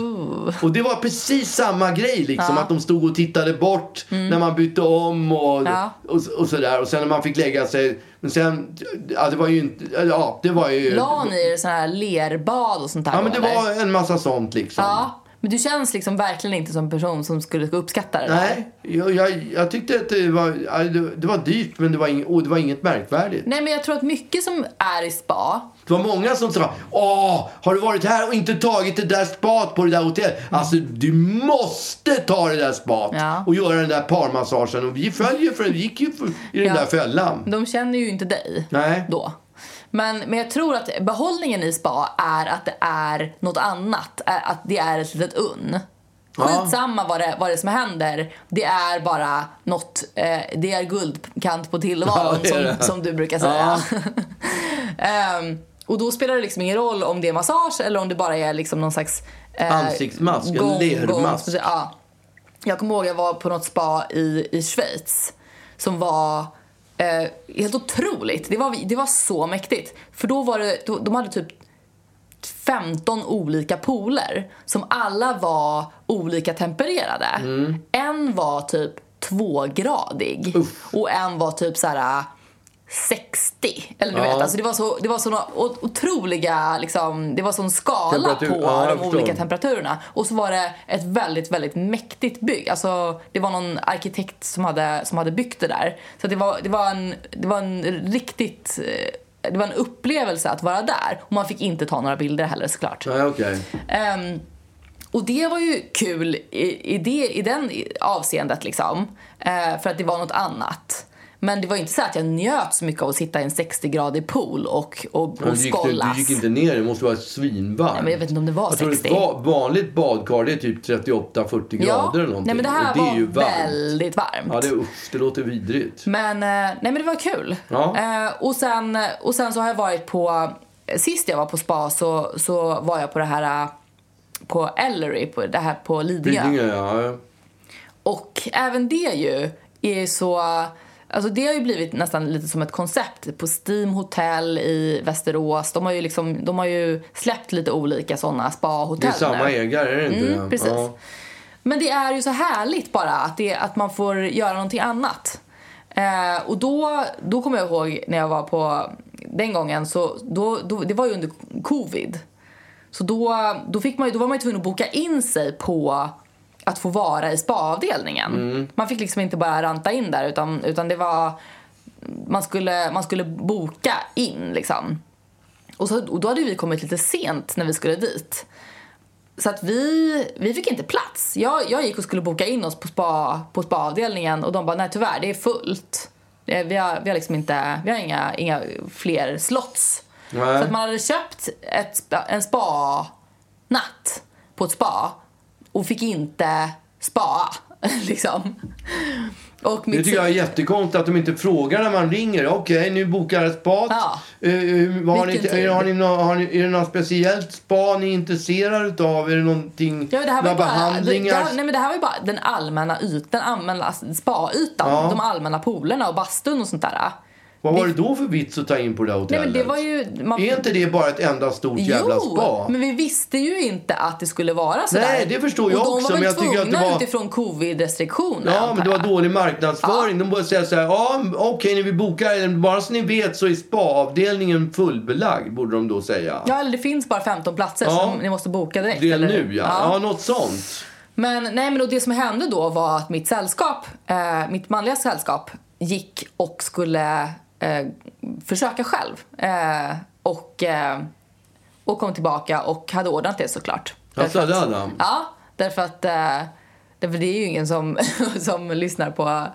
[SPEAKER 1] Och det var precis samma grej liksom. Att de stod och tittade bort när man bytte om och,
[SPEAKER 2] Mm. Ja.
[SPEAKER 1] och, och sådär. Och sen när man fick lägga sig. Men sen, ja det var ju inte, ja det var ju.
[SPEAKER 2] La ni er sån här lerbad och sånt där
[SPEAKER 1] Ja
[SPEAKER 2] då,
[SPEAKER 1] men det
[SPEAKER 2] eller?
[SPEAKER 1] var en massa sånt liksom.
[SPEAKER 2] Ja, men du känns liksom verkligen inte som en person som skulle uppskatta det där.
[SPEAKER 1] Nej, jag, jag, jag tyckte att det var, ja, det- det var dyrt men det var, ing, och det var inget märkvärdigt.
[SPEAKER 2] Nej men jag tror att mycket som är i spa,
[SPEAKER 1] Det var många som sa Åh, har du varit här och inte tagit det där spat på det där hotellet? Alltså, du måste ta det där spat
[SPEAKER 2] Mm. Ja.
[SPEAKER 1] och göra den där parmassagen. Och vi följer för vi gick ju för, i den
[SPEAKER 2] Ja.
[SPEAKER 1] där fällan.
[SPEAKER 2] de känner ju inte dig
[SPEAKER 1] Nej.
[SPEAKER 2] då. Men, men jag tror att behållningen i spa är att det är något annat, ä- att det är ett litet unn. Skitsamma vad det, vad det som händer, det är bara något, eh, det är guldkant på tillvaron
[SPEAKER 1] Ja, det är det.
[SPEAKER 2] som, som du brukar säga. <laughs> Ehm, och då spelar det liksom ingen roll om det är massage eller om det bara är liksom någon slags eh,
[SPEAKER 1] Ansiktsmask, en lermask.
[SPEAKER 2] precis, ja. Jag kommer ihåg jag var på något spa i, i Schweiz som var eh, helt otroligt. Det var, det var så mäktigt. För då var det, då, de hade typ 15 olika pooler som alla var olika tempererade.
[SPEAKER 1] Mm.
[SPEAKER 2] En var typ tvågradig och en var typ så här äh, 60. Eller du
[SPEAKER 1] Ja.
[SPEAKER 2] vet, alltså det var så, det var såna o- otroliga liksom, det var sån skala
[SPEAKER 1] Temperatur-
[SPEAKER 2] på
[SPEAKER 1] ja, jag
[SPEAKER 2] de
[SPEAKER 1] förstår.
[SPEAKER 2] olika temperaturerna. Och så var det ett väldigt, väldigt mäktigt bygg. Alltså det var någon arkitekt som hade, som hade byggt det där. Så att det var, det var en, det var en riktigt eh, det var en upplevelse att vara där och man fick inte ta några bilder heller såklart.
[SPEAKER 1] Nej, okej.
[SPEAKER 2] Ehm, och det var ju kul i, i, det, i den avseendet liksom. Eh, för att det var något annat. Men det var inte så att jag njöt så mycket av att sitta i en 60-gradig pool och, och,
[SPEAKER 1] Men
[SPEAKER 2] och
[SPEAKER 1] Du gick, du,
[SPEAKER 2] skållas.
[SPEAKER 1] du gick inte ner, det måste vara svinvarmt.
[SPEAKER 2] Nej, men jag vet inte om det var
[SPEAKER 1] Jag tror
[SPEAKER 2] 60.
[SPEAKER 1] ett va- vanligt badkar det är typ 38-40
[SPEAKER 2] ja.
[SPEAKER 1] grader eller någonting.
[SPEAKER 2] Nej men det här
[SPEAKER 1] och det är
[SPEAKER 2] var
[SPEAKER 1] ju varmt.
[SPEAKER 2] väldigt varmt.
[SPEAKER 1] Ja, det, usch, det låter vidrigt.
[SPEAKER 2] Men, eh, nej men det var kul.
[SPEAKER 1] Ja.
[SPEAKER 2] Eh, och, sen, och sen så har jag varit på, sist jag var på spa så, så var jag på det här eh, på Ellery, på det här på Lidingö.
[SPEAKER 1] Lidingö, ja.
[SPEAKER 2] Och även det ju är så... Alltså det har ju blivit nästan lite som ett koncept på Steam Hotel i Västerås. De har ju, liksom, de har ju släppt lite olika sådana
[SPEAKER 1] Det
[SPEAKER 2] spa-hotell
[SPEAKER 1] är samma
[SPEAKER 2] nu.
[SPEAKER 1] ägare, är det inte
[SPEAKER 2] Mm,
[SPEAKER 1] det?
[SPEAKER 2] precis.
[SPEAKER 1] Ja.
[SPEAKER 2] Men det är ju så härligt bara att, det, att man får göra någonting annat. Eh, och då, då kommer jag ihåg när jag var på den gången, så då, då, det var ju under covid. Så då, då, fick man, ju- då var man ju tvungen att boka in sig på att få vara i spaavdelningen. Man fick liksom inte bara ranta in där utan, utan det var, man skulle, man skulle boka in liksom. Och, så, och då hade vi kommit lite sent när vi skulle dit. Så att vi, vi fick inte plats. Jag, jag gick och skulle boka in oss på, spa, på spaavdelningen och de bara nej tyvärr det är fullt. Eh, Vi har, vi har liksom inte, vi har inga, inga fler slots.
[SPEAKER 1] Nej.
[SPEAKER 2] Så att man hade köpt ett, spa- en spa-natt på ett spa och fick inte spa <laughs> liksom. Och
[SPEAKER 1] Det
[SPEAKER 2] mitt
[SPEAKER 1] tycker jag är jättekonstigt att de inte frågar när man ringer. Okej, nu bokar jag ett spa.
[SPEAKER 2] Ja.
[SPEAKER 1] Eh, eh, har, ni,
[SPEAKER 2] Vilken tid?
[SPEAKER 1] har, ni, nå- har ni, är det något speciellt spa ni är intresserade av? Är det någonting,
[SPEAKER 2] Ja, men det här var ju
[SPEAKER 1] några
[SPEAKER 2] bara,
[SPEAKER 1] behandlingar?
[SPEAKER 2] Det, det, här- nej, men det här var ju bara den allmänna ytan, den allmänna spa-ytan,
[SPEAKER 1] Ja.
[SPEAKER 2] de allmänna poolerna och bastun och sånt där.
[SPEAKER 1] Vad var det då för vits att ta in på det där
[SPEAKER 2] Nej,
[SPEAKER 1] hotellet?
[SPEAKER 2] men det var ju... Man,
[SPEAKER 1] Är inte det bara ett enda stort jävla spa?
[SPEAKER 2] men vi visste ju inte att det skulle vara sådär.
[SPEAKER 1] Nej, det förstår jag
[SPEAKER 2] och
[SPEAKER 1] också,
[SPEAKER 2] de var
[SPEAKER 1] men jag
[SPEAKER 2] väl
[SPEAKER 1] tycker att det
[SPEAKER 2] tvungna
[SPEAKER 1] var-
[SPEAKER 2] utifrån covid-restriktioner,
[SPEAKER 1] Ja,
[SPEAKER 2] antar
[SPEAKER 1] men det var
[SPEAKER 2] jag.
[SPEAKER 1] dålig marknadsföring. De bara säger så här, ja okej, när vi bokar, den, bara så ni vet så är spaavdelningen fullbelagd, borde de då säga.
[SPEAKER 2] Ja, eller det finns bara 15 platser
[SPEAKER 1] Ja.
[SPEAKER 2] som ni måste boka direkt.
[SPEAKER 1] det är
[SPEAKER 2] eller
[SPEAKER 1] nu
[SPEAKER 2] hur?
[SPEAKER 1] ja. ja. något sånt.
[SPEAKER 2] Men, nej, men och det som hände då var att mitt sällskap, eh, mitt manliga sällskap gick och skulle eh, försöka själv. Eh, och, eh, och kom tillbaka och hade ordnat det såklart.
[SPEAKER 1] Alltså,
[SPEAKER 2] Därför
[SPEAKER 1] det
[SPEAKER 2] att-
[SPEAKER 1] hade han.
[SPEAKER 2] Ja, därför att eh, därför det är ju ingen som, <laughs> som lyssnar på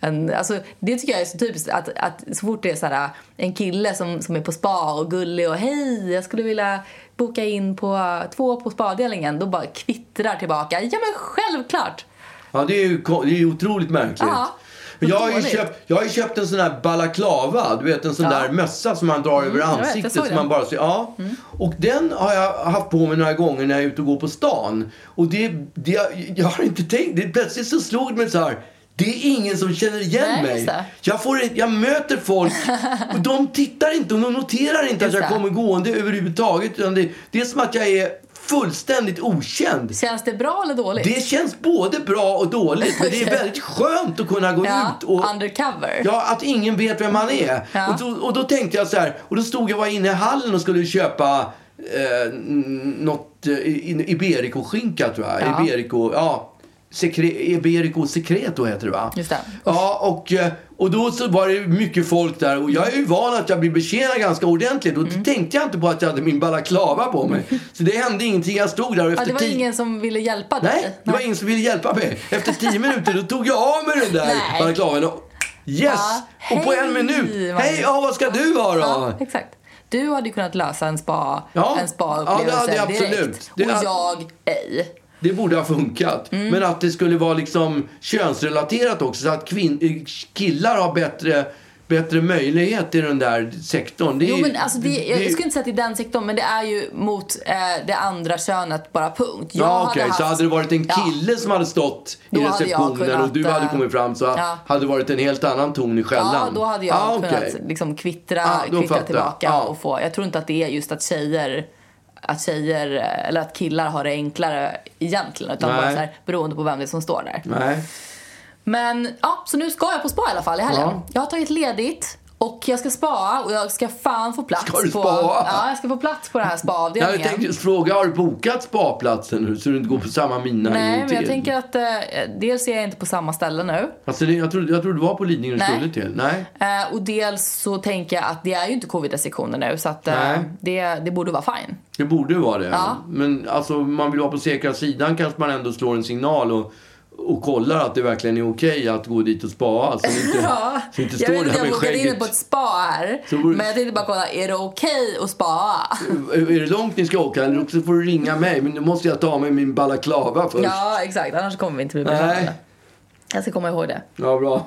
[SPEAKER 2] en, alltså, det tycker jag är så typiskt att, att så fort det är så här, eh, en kille som, som är på spa och gullig och hej jag skulle vilja boka in på två på spaavdelningen då bara kvittrar tillbaka. Ja men självklart!
[SPEAKER 1] Ja, det är ju, ko- det är ju otroligt märkligt.
[SPEAKER 2] Ja,
[SPEAKER 1] Men jag, har ju
[SPEAKER 2] dåligt.
[SPEAKER 1] köpt, jag har ju köpt en sån här balaklava, du vet en sån
[SPEAKER 2] Ja. Mm,
[SPEAKER 1] där mössa som man drar över
[SPEAKER 2] jag vet, jag
[SPEAKER 1] ansiktet.
[SPEAKER 2] såg
[SPEAKER 1] som
[SPEAKER 2] den. Mm.
[SPEAKER 1] man bara ser, ja. Och den har jag haft på mig några gånger när jag är ute och går på stan. Och det, det jag har inte tänkt, det, plötsligt så slog det mig så här. Det är ingen som känner igen
[SPEAKER 2] Nej, just
[SPEAKER 1] mig.
[SPEAKER 2] det.
[SPEAKER 1] Jag, får, ett- jag möter
[SPEAKER 2] <laughs>
[SPEAKER 1] folk och de tittar inte och de noterar inte att
[SPEAKER 2] Just
[SPEAKER 1] jag
[SPEAKER 2] det.
[SPEAKER 1] kommer gående överhuvudtaget. Utan det, det är som att jag är fullständigt okänd.
[SPEAKER 2] Känns det bra eller dåligt?
[SPEAKER 1] Det känns både bra och dåligt, men det är
[SPEAKER 2] Okej.
[SPEAKER 1] väldigt skönt att kunna gå
[SPEAKER 2] ja,
[SPEAKER 1] ut och
[SPEAKER 2] undercover.
[SPEAKER 1] Ja, att ingen vet vem han är.
[SPEAKER 2] Ja.
[SPEAKER 1] Och, då, och då tänkte jag så här, och då stod jag var inne i hallen och skulle köpa eh, n- något eh, i- i- Iberico-skinka tror jag.
[SPEAKER 2] Ja.
[SPEAKER 1] Iberico, ja. Secre, Iberico Secreto heter det va?
[SPEAKER 2] Just det.
[SPEAKER 1] Ja, och, eh, och då så var det mycket folk där och jag är ju van att jag blir betjänad ganska ordentligt och
[SPEAKER 2] Mm.
[SPEAKER 1] då tänkte jag inte på att jag hade min balaklava på
[SPEAKER 2] <laughs>
[SPEAKER 1] mig. Så det hände ingenting, jag stod där och efter
[SPEAKER 2] Ja, det var
[SPEAKER 1] tio-
[SPEAKER 2] ingen som ville hjälpa dig?
[SPEAKER 1] Nej, det var ingen som ville hjälpa mig. Efter tio minuter då tog jag av mig den där
[SPEAKER 2] Nej.
[SPEAKER 1] balaklavan och yes!
[SPEAKER 2] Ja,
[SPEAKER 1] och på en
[SPEAKER 2] hej,
[SPEAKER 1] minut,
[SPEAKER 2] Magnus.
[SPEAKER 1] hej, ja vad ska du ha då?
[SPEAKER 2] Ja, exakt. Du hade ju kunnat lösa en spa
[SPEAKER 1] Ja,
[SPEAKER 2] en
[SPEAKER 1] ja, det hade
[SPEAKER 2] spa-upplevelse
[SPEAKER 1] jag absolut.
[SPEAKER 2] direkt.
[SPEAKER 1] Det
[SPEAKER 2] och
[SPEAKER 1] hade-
[SPEAKER 2] jag ej.
[SPEAKER 1] Det borde ha funkat.
[SPEAKER 2] Mm.
[SPEAKER 1] Men att det skulle vara liksom könsrelaterat också så att kvin- eh, killar har bättre, bättre möjlighet i den där sektorn. Det är,
[SPEAKER 2] Jo, men alltså det, jag
[SPEAKER 1] det är-
[SPEAKER 2] skulle inte säga att det är den sektorn, men det är ju mot eh, det andra könet bara punkt. Jag
[SPEAKER 1] Ja, okej. Så hade det varit en
[SPEAKER 2] Ja.
[SPEAKER 1] kille som hade stått
[SPEAKER 2] Då
[SPEAKER 1] i
[SPEAKER 2] hade jag
[SPEAKER 1] receptionen
[SPEAKER 2] kunnat,
[SPEAKER 1] och du hade
[SPEAKER 2] eh,
[SPEAKER 1] kommit fram så
[SPEAKER 2] ja.
[SPEAKER 1] hade det varit en helt annan ton i skällan.
[SPEAKER 2] Ja, då hade jag
[SPEAKER 1] Ah, okej.
[SPEAKER 2] kunnat liksom kvittra,
[SPEAKER 1] Ja, då fattar
[SPEAKER 2] kvittra
[SPEAKER 1] jag. Ah.
[SPEAKER 2] tillbaka
[SPEAKER 1] Ja.
[SPEAKER 2] och få. Jag tror inte att det är just att tjejer att tjejer eh, eller att killar har det enklare egentligen utan
[SPEAKER 1] Nej.
[SPEAKER 2] bara så här, beroende på vem det är som står där.
[SPEAKER 1] Nej.
[SPEAKER 2] Men ja, så nu ska jag på spa i alla fall i helgen.
[SPEAKER 1] Ja.
[SPEAKER 2] Jag har tagit ledigt och jag ska spaa och jag ska fan få plats
[SPEAKER 1] Ska du
[SPEAKER 2] på
[SPEAKER 1] spaa?
[SPEAKER 2] Ja, jag ska få plats på den här
[SPEAKER 1] Jag hade
[SPEAKER 2] spaavdelningen.
[SPEAKER 1] tänkt just fråga, har du bokat spaplatsen nu så du inte går på samma mina en
[SPEAKER 2] Nej,
[SPEAKER 1] gång
[SPEAKER 2] men jag
[SPEAKER 1] till?
[SPEAKER 2] tänker att eh, dels är jag inte på samma ställe nu.
[SPEAKER 1] Alltså, det, jag, trodde, jag trodde det var på Lidingö du
[SPEAKER 2] Nej.
[SPEAKER 1] skulle till. Nej.
[SPEAKER 2] Eh, och dels så tänker jag att det är ju inte covid-restriktioner nu så att eh,
[SPEAKER 1] Nej.
[SPEAKER 2] det, det borde vara fine.
[SPEAKER 1] Det borde ju vara det.
[SPEAKER 2] Ja.
[SPEAKER 1] Men alltså, man vill vara på säkra sidan kanske man ändå slår en signal och, och kollar att det verkligen är okej att gå dit och spa. Så
[SPEAKER 2] <laughs>
[SPEAKER 1] det inte, så det inte
[SPEAKER 2] jag
[SPEAKER 1] står
[SPEAKER 2] vet
[SPEAKER 1] där
[SPEAKER 2] att jag
[SPEAKER 1] med
[SPEAKER 2] bokade in
[SPEAKER 1] skägget.
[SPEAKER 2] på ett spa här.
[SPEAKER 1] Så borde-
[SPEAKER 2] Men jag tänkte bara kolla, är det okej att spa?
[SPEAKER 1] Är det långt ni ska åka? Eller så får du ringa mig. Men då måste jag ta av mig min balaklava först.
[SPEAKER 2] Ja, exakt. Annars kommer vi inte bli
[SPEAKER 1] Nej.
[SPEAKER 2] behandlade. Jag ska komma ihåg det.
[SPEAKER 1] Ja, bra.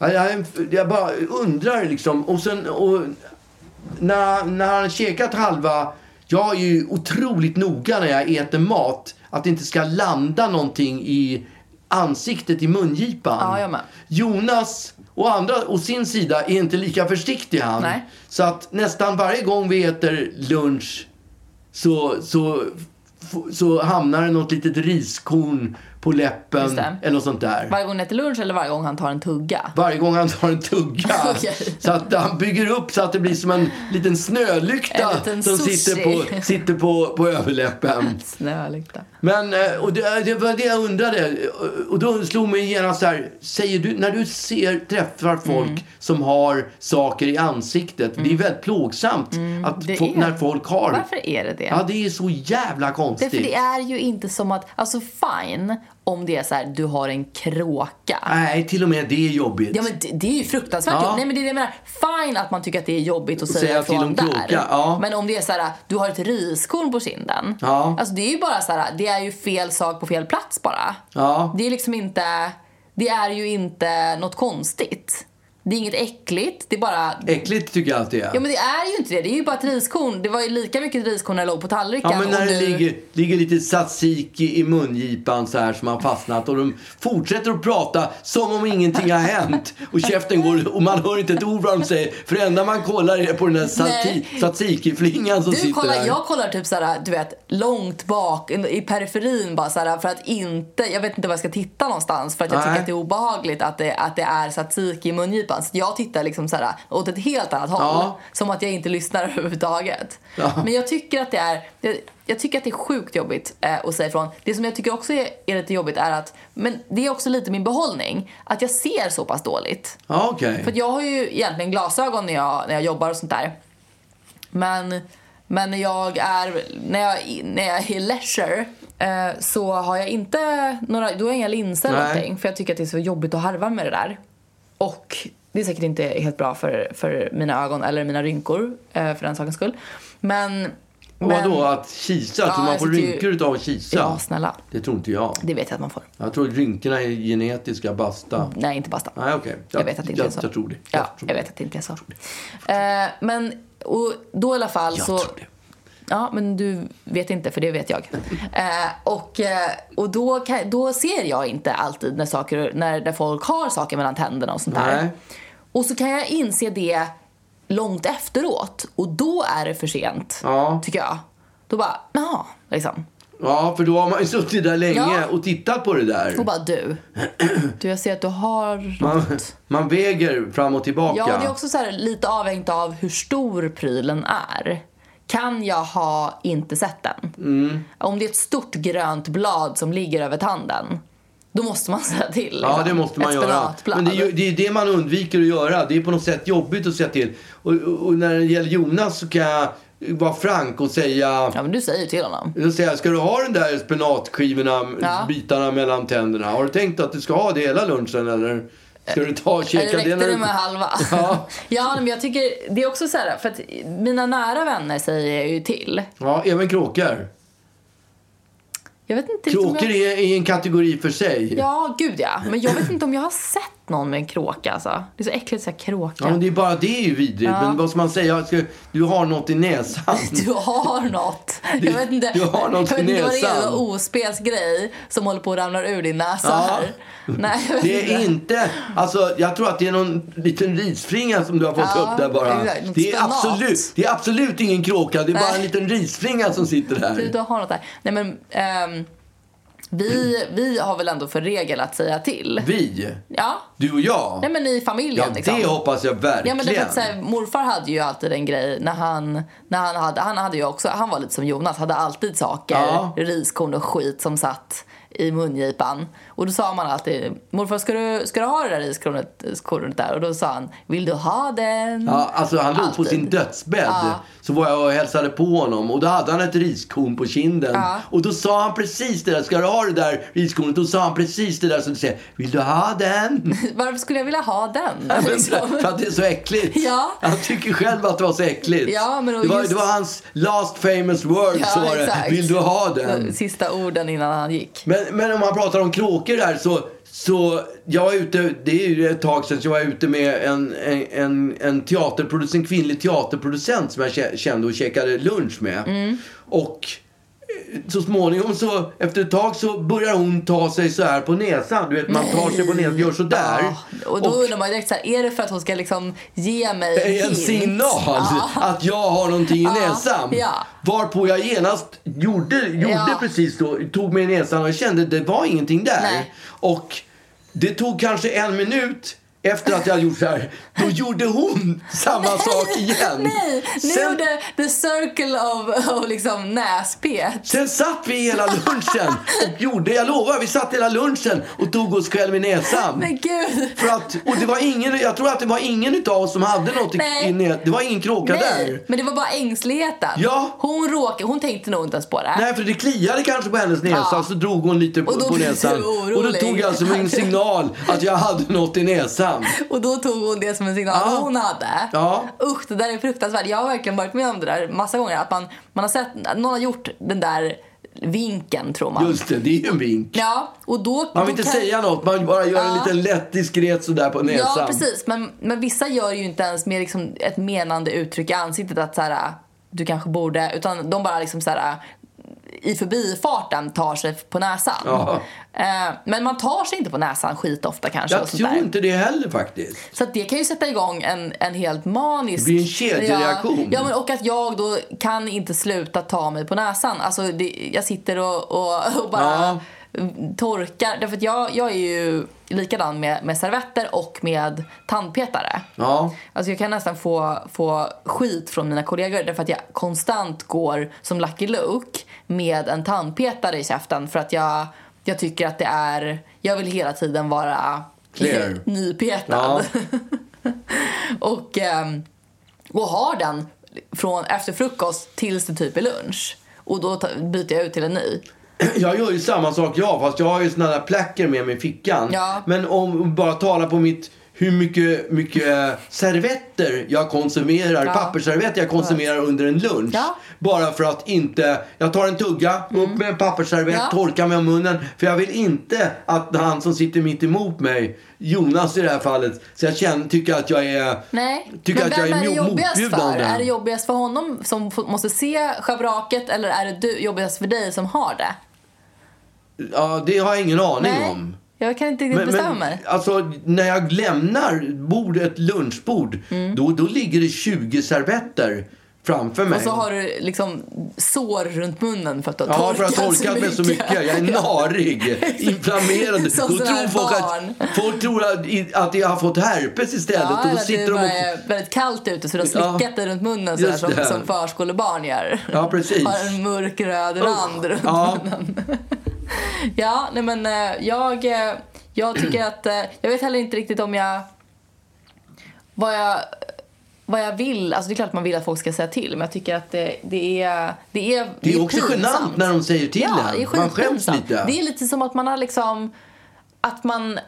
[SPEAKER 1] Jag, jag, jag bara undrar liksom. Och sen, och, när, när han har käkat halva... Jag är ju otroligt noga när jag äter mat. Att det inte ska landa någonting i ansiktet, i mungipan.
[SPEAKER 2] Ja, jag med.
[SPEAKER 1] Jonas och andra å sin sida är inte lika försiktig han.
[SPEAKER 2] Nej.
[SPEAKER 1] Så att nästan varje gång vi äter lunch så, så, f- så hamnar det något litet riskorn på
[SPEAKER 2] Just
[SPEAKER 1] läppen
[SPEAKER 2] det.
[SPEAKER 1] eller något sånt där.
[SPEAKER 2] Varje gång ni äter lunch eller varje gång han tar en tugga?
[SPEAKER 1] Varje gång han tar en tugga.
[SPEAKER 2] <laughs> Okej.
[SPEAKER 1] Så att han bygger upp så att det blir som en liten snölykta
[SPEAKER 2] En liten
[SPEAKER 1] som
[SPEAKER 2] sushi.
[SPEAKER 1] sitter, på, sitter på, på överläppen.
[SPEAKER 2] Snölykta.
[SPEAKER 1] Men, eh, och det, det var det jag undrade. Och då slog mig genast så här, säger du, när du ser, träffar folk
[SPEAKER 2] Mm.
[SPEAKER 1] som har saker i ansiktet, det är väldigt plågsamt att
[SPEAKER 2] Mm, det
[SPEAKER 1] fo-
[SPEAKER 2] är.
[SPEAKER 1] när folk har.
[SPEAKER 2] Varför är det det?
[SPEAKER 1] Ja, typ. det är så jävla
[SPEAKER 2] Det,
[SPEAKER 1] konstigt.
[SPEAKER 2] för det är ju inte som att, alltså fine om det är så här, du har en kråka.
[SPEAKER 1] Nej, till och med det är jobbigt.
[SPEAKER 2] Ja men det, det är ju fruktansvärt
[SPEAKER 1] Ja.
[SPEAKER 2] jobbigt. Nej men det är det jag menar. Fine att man tycker att det är jobbigt att säga,
[SPEAKER 1] Säga till
[SPEAKER 2] ifrån
[SPEAKER 1] de
[SPEAKER 2] där.
[SPEAKER 1] kloka, ja.
[SPEAKER 2] Men om det är så här, du har ett riskorn på kinden.
[SPEAKER 1] Ja.
[SPEAKER 2] Alltså det är ju bara så här, det är ju fel sak på fel plats bara.
[SPEAKER 1] Ja.
[SPEAKER 2] Det är liksom inte, det är ju inte något konstigt. Det är inget äckligt, det är bara...
[SPEAKER 1] Äckligt tycker jag alltid är.
[SPEAKER 2] Ja men det är ju inte det, det är ju bara ett riskorn. Det var ju lika mycket riskorn när det låg på tallriken.
[SPEAKER 1] Ja, men när
[SPEAKER 2] och
[SPEAKER 1] det
[SPEAKER 2] nu-
[SPEAKER 1] ligger, ligger lite tzatziki i mungipan så här som har fastnat och de fortsätter att prata som om ingenting har hänt. Och käften går och man hör inte ett ord vad de säger. För det enda man kollar är på den där tzatziki,
[SPEAKER 2] Nej.
[SPEAKER 1] tzatziki-flingan som
[SPEAKER 2] Du,
[SPEAKER 1] sitter
[SPEAKER 2] kolla,
[SPEAKER 1] där.
[SPEAKER 2] jag kollar typ såhär, du vet, långt bak i periferin bara såhär, för att inte, jag vet inte var jag ska titta någonstans för att jag
[SPEAKER 1] Nej.
[SPEAKER 2] tycker att det är obehagligt att det, att det är tzatziki i mungipan. Så jag tittar liksom såhär åt ett helt annat håll.
[SPEAKER 1] Ja.
[SPEAKER 2] Som att jag inte lyssnar <laughs> överhuvudtaget. Men jag tycker att det är, jag, jag tycker att det är sjukt jobbigt eh, att säga ifrån. Det som jag tycker också är, är lite jobbigt är att, men det är också lite min behållning, att jag ser så pass dåligt.
[SPEAKER 1] Ja, okej.
[SPEAKER 2] För att jag har ju egentligen glasögon när jag, när jag jobbar och sånt där. Men, men när jag är, när jag, när jag är leisure eh, så har jag inte några, då har jag inga linser eller
[SPEAKER 1] Nej.
[SPEAKER 2] någonting. För jag tycker att det är så jobbigt att harva med det där. Och det är säkert inte helt bra för, för mina ögon eller mina rynkor eh, för den sakens skull. Men...
[SPEAKER 1] Och Vadå, alltså? att kisa?
[SPEAKER 2] Ja,
[SPEAKER 1] tror man
[SPEAKER 2] jag
[SPEAKER 1] får
[SPEAKER 2] sitter ju-
[SPEAKER 1] rynkor utav att kisa?
[SPEAKER 2] Ja, snälla.
[SPEAKER 1] Det tror inte jag.
[SPEAKER 2] Det vet jag att man får.
[SPEAKER 1] Jag tror att rynkorna är genetiska, basta.
[SPEAKER 2] Nej, inte basta.
[SPEAKER 1] Nej, okej.
[SPEAKER 2] Jag, vet att det inte
[SPEAKER 1] jag,
[SPEAKER 2] är så.
[SPEAKER 1] Jag tror det.
[SPEAKER 2] Ja,
[SPEAKER 1] tror
[SPEAKER 2] jag
[SPEAKER 1] det.
[SPEAKER 2] vet att det inte är så. Eh, men och då i alla fall
[SPEAKER 1] Jag
[SPEAKER 2] så...
[SPEAKER 1] tror det.
[SPEAKER 2] Ja, men du vet inte, för det vet jag. Eh, och eh, och då, kan, då ser jag inte alltid när, saker, när, när folk har saker mellan tänderna och sånt där.
[SPEAKER 1] Nej.
[SPEAKER 2] Och så kan jag inse det långt efteråt. Och då är det för sent,
[SPEAKER 1] Ja.
[SPEAKER 2] tycker jag. Då bara, ja, liksom.
[SPEAKER 1] Ja, för då har man ju suttit där länge
[SPEAKER 2] Ja.
[SPEAKER 1] och tittat på det där.
[SPEAKER 2] Och bara, du. Du, jag ser att du har
[SPEAKER 1] Man,
[SPEAKER 2] något.
[SPEAKER 1] man väger fram och tillbaka.
[SPEAKER 2] Ja, det är också så här, lite avhängigt av hur stor prylen är. Kan jag ha inte sett den?
[SPEAKER 1] Mm.
[SPEAKER 2] Om det är ett stort grönt blad som ligger över tanden, då måste man <laughs> säga till.
[SPEAKER 1] Ja,
[SPEAKER 2] liksom.
[SPEAKER 1] det måste man
[SPEAKER 2] ett
[SPEAKER 1] göra.
[SPEAKER 2] spenatblad.
[SPEAKER 1] Men det är, ju, det är det man undviker att göra. Det är på något sätt jobbigt att säga till. Och, och och när det gäller Jonas så kan jag vara frank och säga...
[SPEAKER 2] Ja, men du säger ju till honom.
[SPEAKER 1] Då säger jag, ska du ha den där spenatskivorna,
[SPEAKER 2] Ja.
[SPEAKER 1] bitarna mellan tänderna? Har du tänkt att du ska ha det hela lunchen eller? Ska du ta och
[SPEAKER 2] Eller
[SPEAKER 1] käka
[SPEAKER 2] räckte
[SPEAKER 1] när
[SPEAKER 2] det
[SPEAKER 1] du-
[SPEAKER 2] med halva?
[SPEAKER 1] <laughs> Ja.
[SPEAKER 2] ja, men jag tycker, det är också så här, för att mina nära vänner säger jag ju till.
[SPEAKER 1] Ja, även kråkor.
[SPEAKER 2] Jag vet inte riktigt om
[SPEAKER 1] Kråkor
[SPEAKER 2] jag...
[SPEAKER 1] är, är en kategori för sig.
[SPEAKER 2] Ja, gud ja. Men jag vet inte om jag har sett någon med en kråka alltså. Det är så äckligt att säga kråka.
[SPEAKER 1] Ja, men det är bara det är ju vidrigt. Men vad ska man säga? Ska, du har något i näsan.
[SPEAKER 2] Du har något. Jag vet inte,
[SPEAKER 1] du har något
[SPEAKER 2] jag vet
[SPEAKER 1] i
[SPEAKER 2] inte vad det är
[SPEAKER 1] näsan.
[SPEAKER 2] för ospelsgrej som håller på att ramla ur din näsa
[SPEAKER 1] Ja.
[SPEAKER 2] här. Nej, jag vet
[SPEAKER 1] Det är inte, alltså jag tror att det är någon liten risflinga som du har fått
[SPEAKER 2] Ja,
[SPEAKER 1] upp där bara.
[SPEAKER 2] exakt. Något
[SPEAKER 1] Det är,
[SPEAKER 2] spenat.
[SPEAKER 1] absolut, det är absolut ingen kråka, det är bara
[SPEAKER 2] Nej. Typ
[SPEAKER 1] en liten risflinga som sitter
[SPEAKER 2] Du,
[SPEAKER 1] där.
[SPEAKER 2] du har något där. Nej men, ehm, vi, vi har väl ändå för regel att säga till.
[SPEAKER 1] Vi,
[SPEAKER 2] Ja,
[SPEAKER 1] du och jag.
[SPEAKER 2] nej men i
[SPEAKER 1] Ja,
[SPEAKER 2] familjen liksom.
[SPEAKER 1] det hoppas jag
[SPEAKER 2] Ja,
[SPEAKER 1] verkligen.
[SPEAKER 2] men det är för att, så här, morfar hade ju alltid en grej när han, när han hade, han hade ju också, han var lite som Jonas, hade alltid saker,
[SPEAKER 1] Ja.
[SPEAKER 2] riskorn och skit som satt i mungipan. Och då sa man alltid, morfar ska du, ska du ha det där riskornet kornet där? Och då sa han, vill du ha den?
[SPEAKER 1] Ja, alltså han låg på
[SPEAKER 2] Alltid.
[SPEAKER 1] sin dödsbädd.
[SPEAKER 2] Ja.
[SPEAKER 1] Så var jag och hälsade på honom och då hade han ett riskorn på kinden.
[SPEAKER 2] Ja.
[SPEAKER 1] Och då sa han precis det där, ska du ha det där riskornet? Då sa han precis det där som du säger, vill du ha den?
[SPEAKER 2] Varför skulle jag vilja ha den?
[SPEAKER 1] Ja, men <laughs>
[SPEAKER 2] Liksom.
[SPEAKER 1] För att det är så äckligt.
[SPEAKER 2] Ja.
[SPEAKER 1] Han tycker själv att det var så äckligt.
[SPEAKER 2] Ja, men och
[SPEAKER 1] det, var,
[SPEAKER 2] just-
[SPEAKER 1] det var hans last famous words.
[SPEAKER 2] <laughs> Ja,
[SPEAKER 1] så var det.
[SPEAKER 2] exakt. Mm.
[SPEAKER 1] Vill du ha den?
[SPEAKER 2] Sista orden innan han gick.
[SPEAKER 1] Men, men om man pratar om kråkor här så, så jag var ute, det är ju ett tag sedan, så jag var ute med en, en, en, en, teaterproducent, en kvinnlig teaterproducent som jag kä- kände och käkade lunch med.
[SPEAKER 2] Mm.
[SPEAKER 1] Och eh, så småningom så, efter ett tag så börjar hon ta sig så här på näsan. Du vet man tar sig på näsan, gör så där.
[SPEAKER 2] Ja, och då undrar man ju direkt så här, är det för att hon ska liksom ge mig
[SPEAKER 1] är en
[SPEAKER 2] hint?
[SPEAKER 1] signal att jag har någonting i näsan.
[SPEAKER 2] ja.
[SPEAKER 1] Varpå jag genast gjorde, gjorde
[SPEAKER 2] Ja.
[SPEAKER 1] precis då, tog mig i näsan och kände att det var ingenting där.
[SPEAKER 2] Nej.
[SPEAKER 1] Och det tog kanske en minut efter att jag hade gjort så här, då gjorde hon samma sak igen.
[SPEAKER 2] Nej, nu
[SPEAKER 1] Sen-
[SPEAKER 2] gjorde the circle of, of liksom näspet.
[SPEAKER 1] Sen satt vi hela lunchen och gjorde, jag lovar, vi satt hela lunchen och tog oss själv i näsan.
[SPEAKER 2] Men gud.
[SPEAKER 1] För att, och det var ingen, jag tror att det var ingen utav oss som hade något i-
[SPEAKER 2] Nej.
[SPEAKER 1] i näsan. Det var ingen kråka där.
[SPEAKER 2] Nej, men det var bara ängsligheten.
[SPEAKER 1] Ja.
[SPEAKER 2] Hon, råkade, hon tänkte nog inte ens på det.
[SPEAKER 1] Nej, för det kliade kanske på hennes näsa
[SPEAKER 2] Ja.
[SPEAKER 1] så drog hon lite på,
[SPEAKER 2] Och då
[SPEAKER 1] på
[SPEAKER 2] blev du
[SPEAKER 1] näsan.
[SPEAKER 2] orolig.
[SPEAKER 1] Och då tog jag som en signal att jag hade något i näsan.
[SPEAKER 2] Och då tog hon det som en signal
[SPEAKER 1] Ja.
[SPEAKER 2] hon hade.
[SPEAKER 1] Ja.
[SPEAKER 2] Usch, det där är fruktansvärt. Jag har verkligen varit med om det där massa gånger. Att man, man har sett, någon har gjort den där vinkeln tror man.
[SPEAKER 1] Just det, det är ju en vink.
[SPEAKER 2] Ja, och då,
[SPEAKER 1] Man vill
[SPEAKER 2] då
[SPEAKER 1] inte
[SPEAKER 2] kan-
[SPEAKER 1] säga något, man bara gör en
[SPEAKER 2] Ja.
[SPEAKER 1] liten lätt diskret sådär på näsan.
[SPEAKER 2] Ja, precis. Men, men vissa gör ju inte ens med liksom ett menande uttryck i ansiktet att så här, du kanske borde, utan de bara liksom så här, i förbifarten tar sig på näsan.
[SPEAKER 1] Ja.
[SPEAKER 2] Eh, Men man tar sig inte på näsan skitofta kanske.
[SPEAKER 1] Jag
[SPEAKER 2] och sånt
[SPEAKER 1] tror
[SPEAKER 2] där.
[SPEAKER 1] inte det heller faktiskt.
[SPEAKER 2] Så att det kan ju sätta igång en, en helt manisk...
[SPEAKER 1] Det blir en kedjereaktion.
[SPEAKER 2] Ja, ja, men och att jag då kan inte sluta ta mig på näsan. Alltså, det, jag sitter och, och, och bara torkar. Därför att jag, jag är ju likadan med, med servetter och med tandpetare.
[SPEAKER 1] Ja.
[SPEAKER 2] Alltså jag kan nästan få, få skit från mina kollegor därför att jag konstant går som Lucky Luke med en tandpetare i käften för att jag, jag tycker att det är... Jag vill hela tiden vara
[SPEAKER 1] Clear.
[SPEAKER 2] <laughs> nypetad.
[SPEAKER 1] Ja.
[SPEAKER 2] och, ehm, och har den från efter frukost tills det typ är lunch. Och då ta- byter jag ut till en ny.
[SPEAKER 1] Jag gör ju samma sak jag, fast jag har ju såna där placker med mig i fickan.
[SPEAKER 2] Ja.
[SPEAKER 1] Men om om bara tala på mitt hur mycket, mycket servetter jag konsumerar,
[SPEAKER 2] Ja.
[SPEAKER 1] pappersservetter jag konsumerar under en lunch.
[SPEAKER 2] Ja. Mm.
[SPEAKER 1] Bara för att inte, jag tar en tugga, upp med en pappersservett,
[SPEAKER 2] Ja.
[SPEAKER 1] torkar mig om munnen. För jag vill inte att han som sitter mitt emot mig, Jonas i det här fallet, så jag känner, tycker att jag är,
[SPEAKER 2] Nej.
[SPEAKER 1] tycker
[SPEAKER 2] men
[SPEAKER 1] att jag
[SPEAKER 2] vem
[SPEAKER 1] är,
[SPEAKER 2] det
[SPEAKER 1] mo-
[SPEAKER 2] jobbigast för?
[SPEAKER 1] motbjudande.
[SPEAKER 2] Är det jobbigast för honom som f- måste se schabraket eller är det du, jobbigast för dig som har det?
[SPEAKER 1] Ja, det har jag ingen aning
[SPEAKER 2] Nej,
[SPEAKER 1] om.
[SPEAKER 2] jag kan inte riktigt bestämma mig.
[SPEAKER 1] Alltså, när jag lämnar bordet, lunchbord, då, då ligger det 20 servetter framför mig.
[SPEAKER 2] Mm. Och så har du liksom sår runt munnen för att du har
[SPEAKER 1] Ja,
[SPEAKER 2] torkat
[SPEAKER 1] för jag har torkat mig så mycket. Jag
[SPEAKER 2] <laughs>
[SPEAKER 1] är narig, inflammerad.
[SPEAKER 2] Som
[SPEAKER 1] Då
[SPEAKER 2] sådana här
[SPEAKER 1] tror folk
[SPEAKER 2] barn.
[SPEAKER 1] att, folk tror att, i- att jag har fått herpes istället.
[SPEAKER 2] Ja,
[SPEAKER 1] och
[SPEAKER 2] eller typ,
[SPEAKER 1] då
[SPEAKER 2] eh, att det
[SPEAKER 1] sitter
[SPEAKER 2] bara
[SPEAKER 1] de och...
[SPEAKER 2] är väldigt kallt ute så du har
[SPEAKER 1] Ja.
[SPEAKER 2] slickat dig runt munnen sådär,
[SPEAKER 1] Just
[SPEAKER 2] som,
[SPEAKER 1] det.
[SPEAKER 2] som förskolebarn gör.
[SPEAKER 1] Ja, precis.
[SPEAKER 2] Har en mörk röd rand runt
[SPEAKER 1] Ja.
[SPEAKER 2] munnen. ja, nej men eh, jag, eh, jag tycker att, eh, jag vet heller inte riktigt om jag, vad jag vad jag vill, alltså det är klart att man vill att folk ska säga till men jag tycker att det, det är Det är,
[SPEAKER 1] Det är också
[SPEAKER 2] pinsamt.
[SPEAKER 1] genant när de säger till
[SPEAKER 2] ja,
[SPEAKER 1] en.
[SPEAKER 2] det är
[SPEAKER 1] Man skäms
[SPEAKER 2] skitpinsamt.
[SPEAKER 1] lite.
[SPEAKER 2] Det är lite som att man har liksom Att man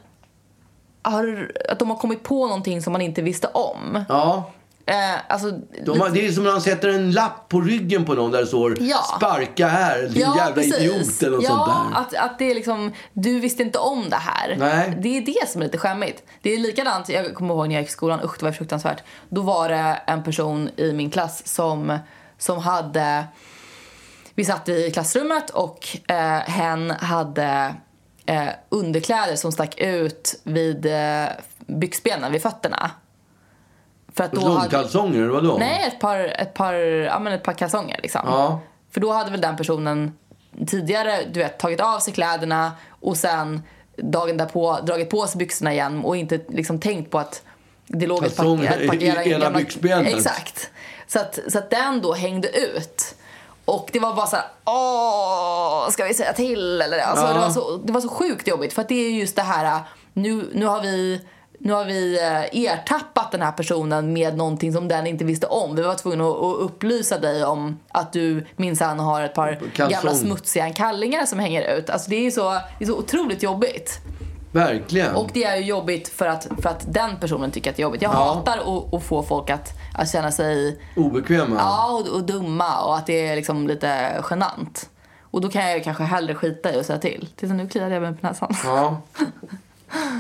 [SPEAKER 2] har, Att de har kommit på någonting som man inte visste om.
[SPEAKER 1] Ja.
[SPEAKER 2] Eh, alltså,
[SPEAKER 1] De har, det är som när han sätter en lapp på ryggen på någon där det står
[SPEAKER 2] Ja.
[SPEAKER 1] “sparka här, din jävla idiot” eller något
[SPEAKER 2] ja,
[SPEAKER 1] sånt där.
[SPEAKER 2] Att, att det är liksom, du visste inte om det här.
[SPEAKER 1] Nej.
[SPEAKER 2] Det är det som är lite skämmigt. Det är likadant, jag kommer ihåg när jag gick i skolan, usch det var fruktansvärt. Då var det en person i min klass som, som hade, vi satt i klassrummet och eh, hen hade eh, underkläder som stack ut vid eh, byxbenen, vid fötterna. För att då hade,
[SPEAKER 1] Långkalsonger, eller vadå?
[SPEAKER 2] Nej, ett par, ett par, ja, men ett par kalsonger. Liksom.
[SPEAKER 1] Ja.
[SPEAKER 2] För då hade väl den personen tidigare du vet, tagit av sig kläderna och sen dagen därpå dragit på sig byxorna igen och inte liksom, tänkt på att det låg ett par,
[SPEAKER 1] Kalsonger
[SPEAKER 2] ett par
[SPEAKER 1] i ena
[SPEAKER 2] gamla-
[SPEAKER 1] byxbenet.
[SPEAKER 2] Exakt. Så att, så att den då hängde ut. Och det var bara så här, åh, ska vi säga till? Eller, alltså,
[SPEAKER 1] Ja.
[SPEAKER 2] det, var så, det var så sjukt jobbigt för att det är just det här, nu, nu har vi nu har vi eh, ertappat den här personen med någonting som den inte visste om. Vi var tvungna att att upplysa dig om att du minsann har ett par
[SPEAKER 1] Kalsong.
[SPEAKER 2] gamla smutsiga kallingar som hänger ut. Alltså det är ju så, det är så otroligt jobbigt.
[SPEAKER 1] Verkligen.
[SPEAKER 2] Och det är ju jobbigt för att, för att den personen tycker att det är jobbigt. Jag hatar att, att få folk att, att känna sig
[SPEAKER 1] Obekväma.
[SPEAKER 2] Ja, och, och dumma och att det är liksom lite genant. Och då kan jag ju kanske hellre skita i och säga till. Titta nu kliade jag mig på näsan.
[SPEAKER 1] Ja.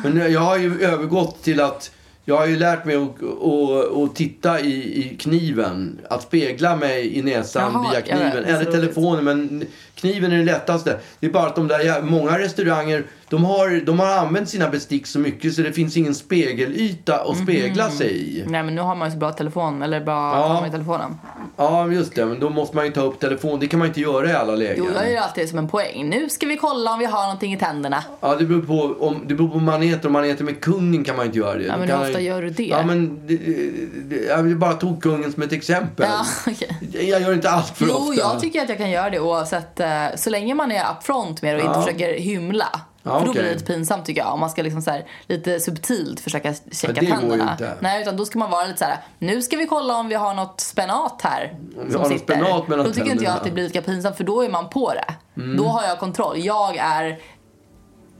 [SPEAKER 1] Men jag har ju övergått till att jag har ju lärt mig att, att, att titta i, i kniven. Att spegla mig i näsan
[SPEAKER 2] Jaha,
[SPEAKER 1] via
[SPEAKER 2] jag
[SPEAKER 1] kniven.
[SPEAKER 2] vet, så
[SPEAKER 1] Eller
[SPEAKER 2] roligt.
[SPEAKER 1] telefonen, men kniven är det lättaste. Det är bara att de där, jä- många restauranger de har, de har använt sina bestick så mycket så det finns ingen spegelyta att spegla
[SPEAKER 2] Mhm.
[SPEAKER 1] sig i.
[SPEAKER 2] Nej men nu har man ju så bra telefon, eller bra
[SPEAKER 1] Ja.
[SPEAKER 2] kamera i telefonen.
[SPEAKER 1] Ja, men just det. Men då måste man ju ta upp telefonen. Det kan man inte göra i alla lägen.
[SPEAKER 2] Jo, jag gör ju alltid som en poäng. Nu ska vi kolla om vi har någonting i tänderna.
[SPEAKER 1] Ja, det beror på om det beror på maneter. Om man äter med kungen kan man inte göra det.
[SPEAKER 2] men
[SPEAKER 1] Då kan
[SPEAKER 2] hur ofta
[SPEAKER 1] han-
[SPEAKER 2] gör du det?
[SPEAKER 1] Ja, men det, det, jag bara tog kungen som ett exempel.
[SPEAKER 2] Ja, <laughs> okej.
[SPEAKER 1] Jag gör inte allt för
[SPEAKER 2] jo,
[SPEAKER 1] ofta.
[SPEAKER 2] jag tycker att jag kan göra det oavsett, eh, så länge man är upfront med det och inte försöker hymla.
[SPEAKER 1] Ja,
[SPEAKER 2] för då blir det
[SPEAKER 1] okej.
[SPEAKER 2] lite pinsamt tycker jag om man ska liksom så här, lite subtilt försöka checka
[SPEAKER 1] det går ju
[SPEAKER 2] tänderna.
[SPEAKER 1] inte.
[SPEAKER 2] Nej, utan då ska man vara lite så här: nu ska vi kolla om vi har något spenat här. Om
[SPEAKER 1] vi har något spenat mellan
[SPEAKER 2] Då tycker inte
[SPEAKER 1] tänderna.
[SPEAKER 2] jag
[SPEAKER 1] Mm.
[SPEAKER 2] att det blir lika pinsamt för då är man på det. Då har jag kontroll. Jag är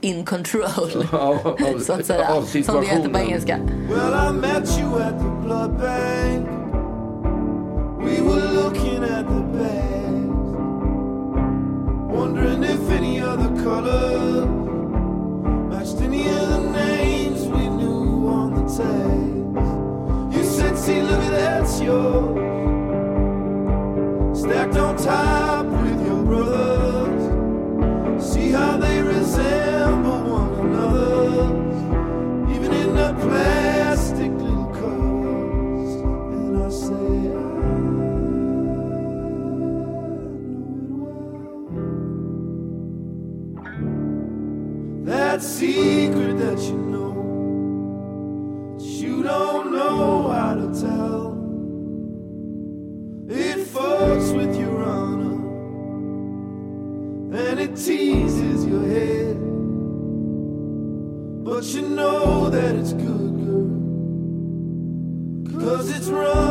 [SPEAKER 2] in control.
[SPEAKER 1] <laughs> Ja, av-
[SPEAKER 2] <laughs> så att säga.
[SPEAKER 1] av
[SPEAKER 2] Som det heter på
[SPEAKER 1] situationen.
[SPEAKER 2] engelska.
[SPEAKER 6] Well, I met you at the blood bank. We were looking at the bags. One yours. Stacked on top with your brothers. See how they resemble one another. Even in the plastic little cups. And I say, I know it well. That secret that you know, that you don't know how to tell. It fucks with your honor, and it teases your head. But you know that it's good, girl, cause it's wrong.